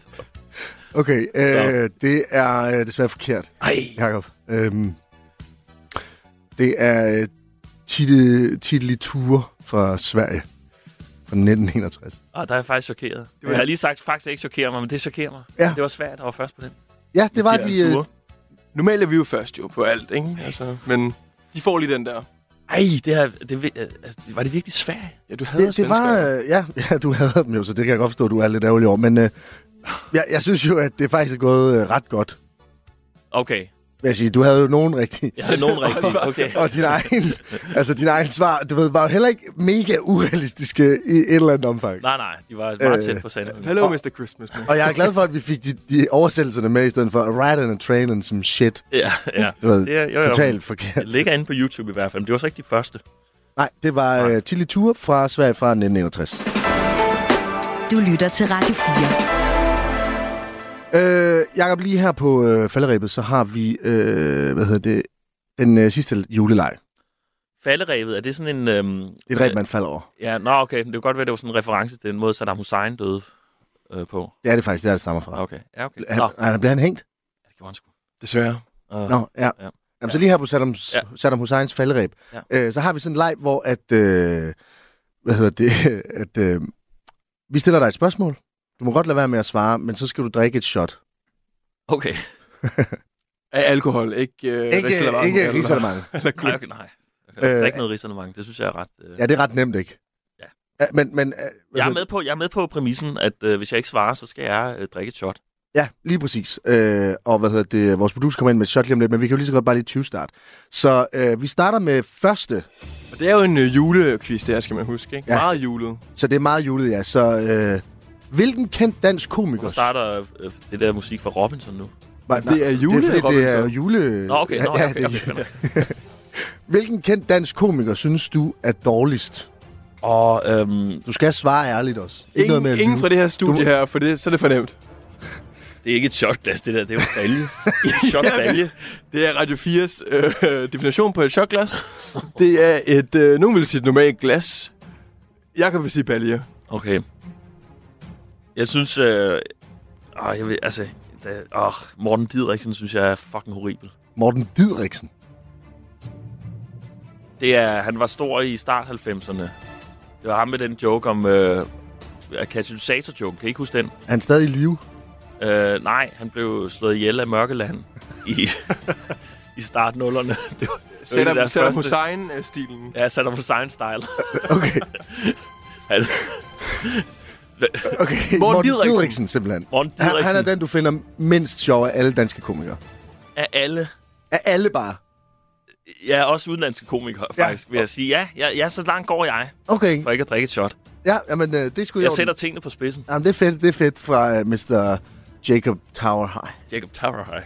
Speaker 1: Okay, øh, det er øh, desværre forkert,
Speaker 4: Ej,
Speaker 1: Jacob. Øhm, det er øh, Titte, Titteli Ture fra Sverige fra 1961.
Speaker 4: Og Ah, der er jeg faktisk chokeret. Det var... Jeg har lige sagt, faktisk ikke chokerer mig, men det chokerer mig.
Speaker 1: Ja.
Speaker 4: Det var svært at var først på den.
Speaker 1: Ja, det var
Speaker 4: Til
Speaker 1: de... Øh,
Speaker 4: Arthur.
Speaker 3: Normalt er vi jo først jo på alt, ikke? Altså, men de får lige den der.
Speaker 4: Ej, det her... Det, vi- altså, det- var det virkelig svært?
Speaker 3: Ja, du hader
Speaker 1: det, det var...
Speaker 3: svenskere.
Speaker 1: Øh, ja, <laughs> ja, du havde dem jo, så det kan jeg godt forstå, du er lidt ærgerlig over. Men øh, jeg, jeg synes jo, at det faktisk er gået øh, ret godt.
Speaker 4: Okay.
Speaker 1: Vil jeg sige, du havde jo nogen rigtige.
Speaker 4: Jeg havde nogen rigtigt. <laughs> Okay.
Speaker 1: Og din egen, altså din egen svar, du ved, var jo heller ikke mega urealistiske i et eller andet omfang.
Speaker 4: Nej, nej. De var meget
Speaker 1: Øh,
Speaker 4: tæt på sandheden.
Speaker 3: Hello, Mr. Christmas. Man.
Speaker 1: Og jeg er glad for, at vi fik de, de oversættelserne med, i stedet for a ride and a train and some shit.
Speaker 4: Ja,
Speaker 1: <laughs>
Speaker 4: ja.
Speaker 1: Du ved,
Speaker 4: Det er- jo, jo.
Speaker 1: totalt forkert.
Speaker 4: Det ligger inde på YouTube i hvert fald, men det var så ikke de første.
Speaker 1: Nej, det var uh, Tilly Tour fra Sverige fra 1961.
Speaker 2: Du lytter til Radio 4.
Speaker 1: Øh, Jakob, lige her på øh, falderæbet, så har vi, øh, hvad hedder det, den øh, sidste juleleg.
Speaker 4: Falderevet, er det sådan en... Øhm,
Speaker 1: Det er et ræb, man falder over.
Speaker 4: Ja, nå, okay. Det kunne godt være, det var sådan en reference til den måde, Saddam Hussein døde øh, på.
Speaker 1: Det er det faktisk, det er der, det stammer fra.
Speaker 4: Okay. Ja, okay.
Speaker 1: Han,
Speaker 4: Nå,
Speaker 1: han, bliver han hængt?
Speaker 4: ja, det gjorde han sgu.
Speaker 3: Desværre.
Speaker 4: Uh,
Speaker 1: Nå, ja. ja.
Speaker 4: Ja.
Speaker 1: Jamen, så lige her på Saddam, ja.
Speaker 4: Ja.
Speaker 1: Saddam Husseins falderæb, ja.
Speaker 4: Ja.
Speaker 1: øh, så har vi sådan en leg, hvor at, øh, hvad hedder det, <laughs> at øh, vi stiller dig et spørgsmål. Du må godt lade være med at svare, men så skal du drikke et
Speaker 4: Øh,
Speaker 1: shot.
Speaker 4: Okay.
Speaker 3: Af alkohol, ikke... Øh,
Speaker 1: Ikke,
Speaker 3: risalamande
Speaker 1: ikke
Speaker 3: eller-
Speaker 1: risalamande.
Speaker 3: Eller
Speaker 4: Nej,
Speaker 3: cola.
Speaker 4: okay, nej. Okay.
Speaker 1: Øh,
Speaker 4: Der er ikke noget risalemang. Det synes jeg er ret... Øh...
Speaker 1: Ja, det er ret nemt, ikke?
Speaker 4: Ja.
Speaker 1: Ja, men, men, øh, hvad
Speaker 4: Jeg er,
Speaker 1: hedder
Speaker 4: med på, jeg er med på præmissen, at øh, hvis jeg ikke svarer, så skal jeg øh, drikke et shot.
Speaker 1: det? Ja, lige præcis. Øh, og hvad hedder det, vores producer kommer ind med et shot lige om lidt, men vi kan jo lige så godt bare lige 20 start. Så øh, vi starter med første,
Speaker 3: Og det er jo en øh, julequiz, det her, skal man huske, ikke?
Speaker 1: Ja.
Speaker 3: Ja. Meget julet.
Speaker 1: så det er meget julet, ja. Så øh, hvilken kendt dansk komiker...
Speaker 4: Nu starter øh, det der musik fra Robinson nu.
Speaker 1: Nej,
Speaker 3: Det er jule,
Speaker 1: det er, fordi, det er
Speaker 3: Robinson.
Speaker 1: jule...
Speaker 4: Nå, okay. Nå,
Speaker 1: Ja,
Speaker 4: okay,
Speaker 1: det er-
Speaker 4: okay, okay.
Speaker 1: Hvilken kendt dansk komiker synes du er dårligst?
Speaker 4: Og øhm,
Speaker 1: Du skal svare ærligt også. Ikke
Speaker 3: Ingen,
Speaker 1: at
Speaker 3: ingen
Speaker 1: lyve.
Speaker 3: fra det her studie
Speaker 1: Du-
Speaker 3: du... her, for det, så er det fornemt.
Speaker 4: det er ikke et shotglas, det der. Det er
Speaker 1: <laughs>
Speaker 4: jo en balje. Et shotbalje.
Speaker 3: Det er Radio 4's øh, <laughs> definition på et shotglas. Det er et, øh, nogen vil sige et normalt glas. Jeg kan vil sige balje.
Speaker 4: Okay. Jeg synes... Øh, åh, jeg ved, altså... Da, åh, Morten Didriksen synes jeg er fucking horribel.
Speaker 1: Morten Didriksen.
Speaker 4: Det er, han var stor i start 90'erne. Det var ham med den joke om... Øh, katalysator-joke. Kan I ikke huske den?
Speaker 1: Er han stadig i live? <laughs>
Speaker 4: Øh, nej, han blev slået ihjel af Mørkeland
Speaker 3: <laughs>
Speaker 4: i, i start nullerne. Det var, det var
Speaker 3: Sætter,
Speaker 4: deres
Speaker 3: sætter
Speaker 4: første-
Speaker 3: Hussein-stilen.
Speaker 4: Ja, Saddam Hussein-style.
Speaker 1: Okay,
Speaker 4: Han-
Speaker 1: okay. Morten, Morten
Speaker 3: Didriksen.
Speaker 1: Didriksen. simpelthen.
Speaker 4: Morten
Speaker 1: Han,
Speaker 4: Didriksen
Speaker 1: han er den, du finder mindst sjov af alle danske komikere.
Speaker 4: af alle
Speaker 1: Af alle bare.
Speaker 4: Ja, også udenlandske komikere,
Speaker 1: Ja.
Speaker 4: faktisk, vil jeg sige. Ja, ja, ja, så langt går jeg,
Speaker 1: Okay,
Speaker 4: for ikke at drikke et shot.
Speaker 1: ja, jamen, øh, det skulle
Speaker 4: Jeg sætter tingene på spidsen.
Speaker 1: Jamen, det er fedt, det er fedt fra uh, Mr. Jacob Tower High.
Speaker 4: Jacob Tower High.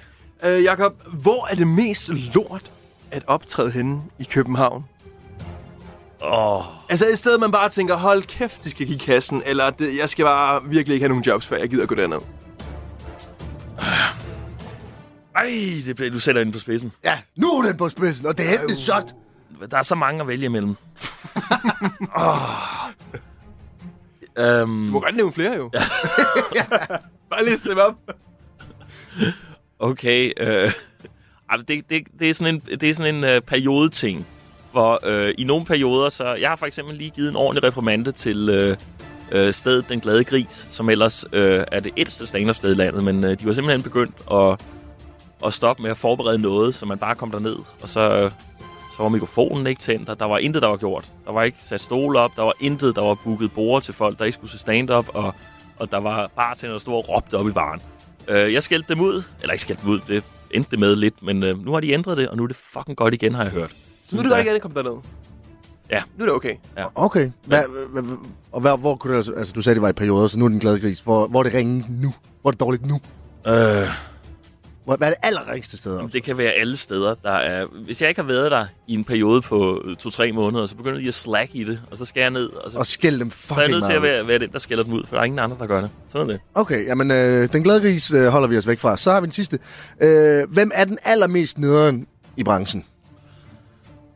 Speaker 3: Øh, Jakob, hvor er det mest lort at optræde henne i København?
Speaker 4: Åh,
Speaker 3: Altså et sted, man bare tænker, hold kæft, de skal give kassen, eller det, jeg skal bare virkelig ikke have nogen jobs, før jeg gider gå derned.
Speaker 4: ej, det bliver, du sætter ind på spidsen.
Speaker 1: Ja, nu er den på spidsen, og det er endelig shot.
Speaker 4: Der er så mange at vælge
Speaker 3: <laughs>
Speaker 4: imellem. oh.
Speaker 3: Du
Speaker 4: øhm,
Speaker 3: må godt nævne flere jo. Ja. <laughs> bare liste dem op.
Speaker 4: okay, øh, <laughs> ej, men det, det, det er sådan en, det er sådan en øh, periodeting, hvor øh, i nogle perioder, så... Jeg har for eksempel lige givet en ordentlig reprimande til... Øh, øh, stedet Den Glade Gris, som ellers øh, er det ældste stand sted i landet, men øh, de var simpelthen begyndt at, at stoppe med at forberede noget, så man bare kom derned, og så, øh, så var mikrofonen ikke tændt, og der var intet, der var gjort. Der var ikke sat stole op, der var intet, der var booket borde til folk, der ikke skulle se stand-up, og, og der var bartender, der stod og råbte op i baren. Øh, jeg skældte dem ud, eller ikke skældte dem ud, det endte det med lidt, men øh, nu har de ændret det, og nu er det fucking godt igen, har jeg hørt.
Speaker 3: Så nu er det godt ikke andet at komme derned.
Speaker 4: Ja.
Speaker 3: Nu er det okay.
Speaker 1: Okay, hva, hva, hva, og hva, hvor kunne det, altså- altså du sagde, det var i perioder, så nu er den glade gris. Hvor, hvor er det ringe nu? Hvor er det dårligt nu?
Speaker 4: Øh,
Speaker 1: Hvor, hvad er det allerringste sted?
Speaker 4: Jamen, Det kan være alle steder, der er... Hvis jeg ikke har været der i en periode på øh, to-tre måneder, så begynder de at slack i det, og så skal jeg ned, og så,
Speaker 1: Og skæld dem
Speaker 4: så er jeg
Speaker 1: fucking
Speaker 4: nødt til at
Speaker 1: meget. ud.
Speaker 4: være, være den, der skælder dem ud, for der er ingen andre, der gør det. Sådan er det.
Speaker 1: Okay, jamen, øh, den glade gris øh, holder vi os væk fra. Så har vi den sidste. Øh, hvem er den allermest nederen i branchen?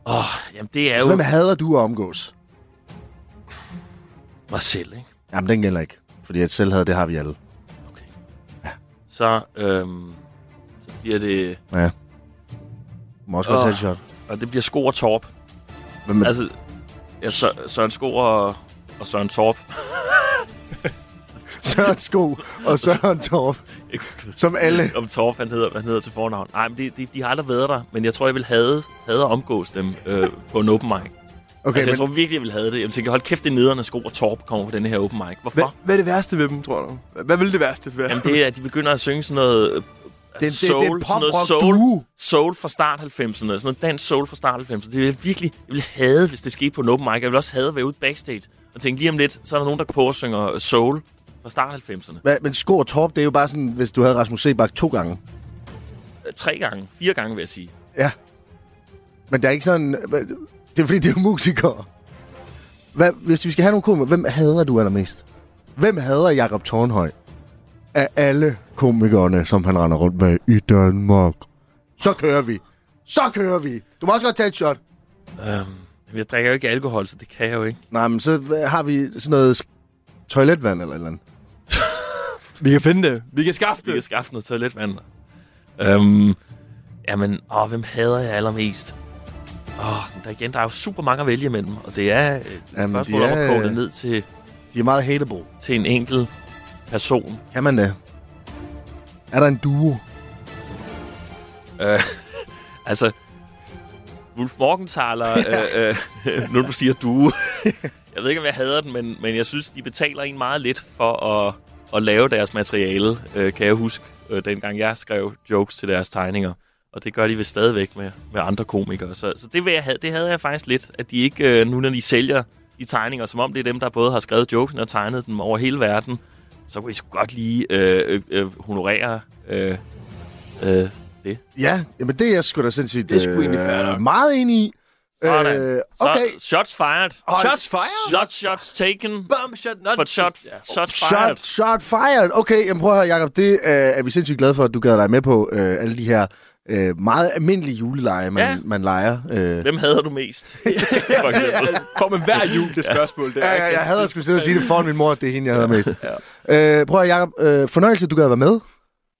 Speaker 4: Åh, oh, jamen det er
Speaker 1: Altså,
Speaker 4: jo
Speaker 1: hvem hader du at omgås?
Speaker 4: mig selv, ikke?
Speaker 1: Jamen, den gælder ikke. Fordi at selvhed, det har vi alle.
Speaker 4: Så, øhm, så bliver det...
Speaker 1: Ja. Må også godt
Speaker 4: Åh.
Speaker 1: tage et shot.
Speaker 4: Og det bliver Sko og Torp.
Speaker 1: Hvem er altså,
Speaker 4: Altså, ja, Sø- Søren Sko og, og Søren Torp. Altså-
Speaker 1: <laughs> Søren Sko og Søren Torp,
Speaker 4: Ikke
Speaker 1: <laughs> som alle...
Speaker 4: om Torf, han hedder, han hedder til fornavn. Nej, men de, de, de har aldrig været der, men jeg tror, jeg vil have, have at omgås dem øh, på en open mic. Okay,
Speaker 1: Okay,
Speaker 4: altså, jeg
Speaker 1: men,
Speaker 4: tror virkelig, jeg ville have det. Jeg tænker, hold kæft, det er nederen, at sko og torp kommer på den her open mic. Hvorfor?
Speaker 3: Hvad, hvad er det værste ved dem, tror du? Hvad- Hvad vil det værste være?
Speaker 4: Jamen, det er, at de begynder at synge sådan noget... øh,
Speaker 1: det, det,
Speaker 4: altså,
Speaker 1: det, er en
Speaker 4: sådan noget
Speaker 1: poprock
Speaker 4: soul,
Speaker 1: duo.
Speaker 4: soul fra start 90'erne. Sådan noget dansk soul fra start 90'erne. Det ville jeg virkelig jeg ville have, hvis det skete på en open mic. Jeg ville også have at være ude backstage og tænke lige om lidt, så er der nogen, der går på og synger soul fra start 90'erne.
Speaker 1: Hvad, men Sko og Torp, det er jo bare sådan, hvis du havde Rasmus Sebak to gange.
Speaker 4: Øh, Tre gange, fire gange vil jeg sige.
Speaker 1: Ja. Men der er ikke sådan... hvad- Det er fordi, det er jo musikere. Hvad, hvis vi skal have nogle komikere, hvem hader du allermest? Hvem hader Jakob Tornhøj? Af alle komikerne, som han render rundt med i Danmark. Så kører vi. Så kører vi. Du må også godt tage et shot.
Speaker 4: Øhm, men jeg drikker jo ikke alkohol, så det kan jeg jo ikke.
Speaker 1: Nej, men så øh, har vi sådan noget sk- toiletvand eller et eller andet.
Speaker 3: Vi kan finde det. Vi kan skaffe
Speaker 4: Vi kan skaffe noget toiletvand. Øhm, jamen, åh, hvem hader jeg allermest? Åh, men der igen, der er jo super mange at vælge imellem, og det er øh, et
Speaker 1: Jamen,
Speaker 4: spørgsmål
Speaker 1: de
Speaker 4: om at
Speaker 1: er,
Speaker 4: koge det
Speaker 1: øh,
Speaker 4: ned til,
Speaker 1: De er meget hateable.
Speaker 4: til en enkelt person.
Speaker 1: Kan man det? Er der en duo?
Speaker 4: Øh, altså, Wolf Morgenthaler, øh, øh, <laughs> nu du siger du. jeg ved ikke, om jeg hader den, men, men jeg synes, de betaler en meget lidt for at, at lave deres materiale, øh, kan jeg huske, øh, dengang jeg skrev jokes til deres tegninger. Og det gør de vel stadigvæk med, med andre komikere. Så, så det, vil jeg, have- det havde jeg faktisk lidt, at de ikke, øh, nu når de sælger de tegninger, som om det er dem, der både har skrevet jokesen og tegnet dem over hele verden, så kunne I sgu godt lige øh, øh, øh, honorere øh, øh, det.
Speaker 1: Ja, jamen det er jeg sgu da sindssygt øh,
Speaker 3: Det er sgu egentlig fair nok.
Speaker 1: meget enig i.
Speaker 4: Sådan.
Speaker 1: Øh, okay,
Speaker 4: Okay. Så, shots fired.
Speaker 1: Hold-
Speaker 3: Shots fired?
Speaker 4: Shots, shots taken.
Speaker 3: Bum, shot, not
Speaker 4: But shot,
Speaker 3: Ja.
Speaker 4: shots
Speaker 1: Shot,
Speaker 4: fired.
Speaker 1: shot fired. Okay, jamen prøv at høre, Jacob. Det øh, er vi sindssygt glade for, at du gad dig med på øh, alle de her øh, meget almindelige juleleje, man,
Speaker 4: Ja.
Speaker 1: ja. man leger. Øh.
Speaker 4: Hvem hader du <laughs> mest? For eksempel.
Speaker 3: Altså, Får man hver jul det spørgsmål der.
Speaker 1: Ja,
Speaker 3: ikke?
Speaker 1: ja, jeg havde at skulle sidde og sige det foran min mor, at det er hende, jeg havde mest. ja. øh, prøv at, Jacob, øh, fornøjelse, at du gad være med.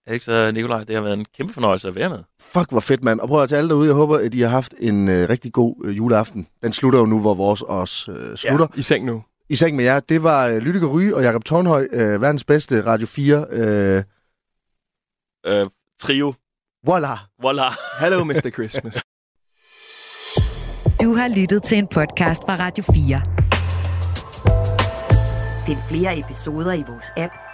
Speaker 4: Alex og Nikolaj, det har været en kæmpe fornøjelse at være med.
Speaker 1: Fuck, hvor fedt, mand. Og prøv at tage alle derude. Jeg håber, at I har haft en øh, rigtig god øh, juleaften. Den slutter jo nu, hvor vores også øh, slutter.
Speaker 3: I seng nu.
Speaker 1: I seng med jer, det var øh, Lytte Ry og Jakob Tornhøj, øh, verdens bedste Radio 4. Øh,
Speaker 4: Øh, trio.
Speaker 1: voila!
Speaker 4: Voila.
Speaker 3: Hello, Mr. Christmas.
Speaker 2: Du har lyttet til en podcast fra Radio 4.
Speaker 5: Find flere episoder i vores app,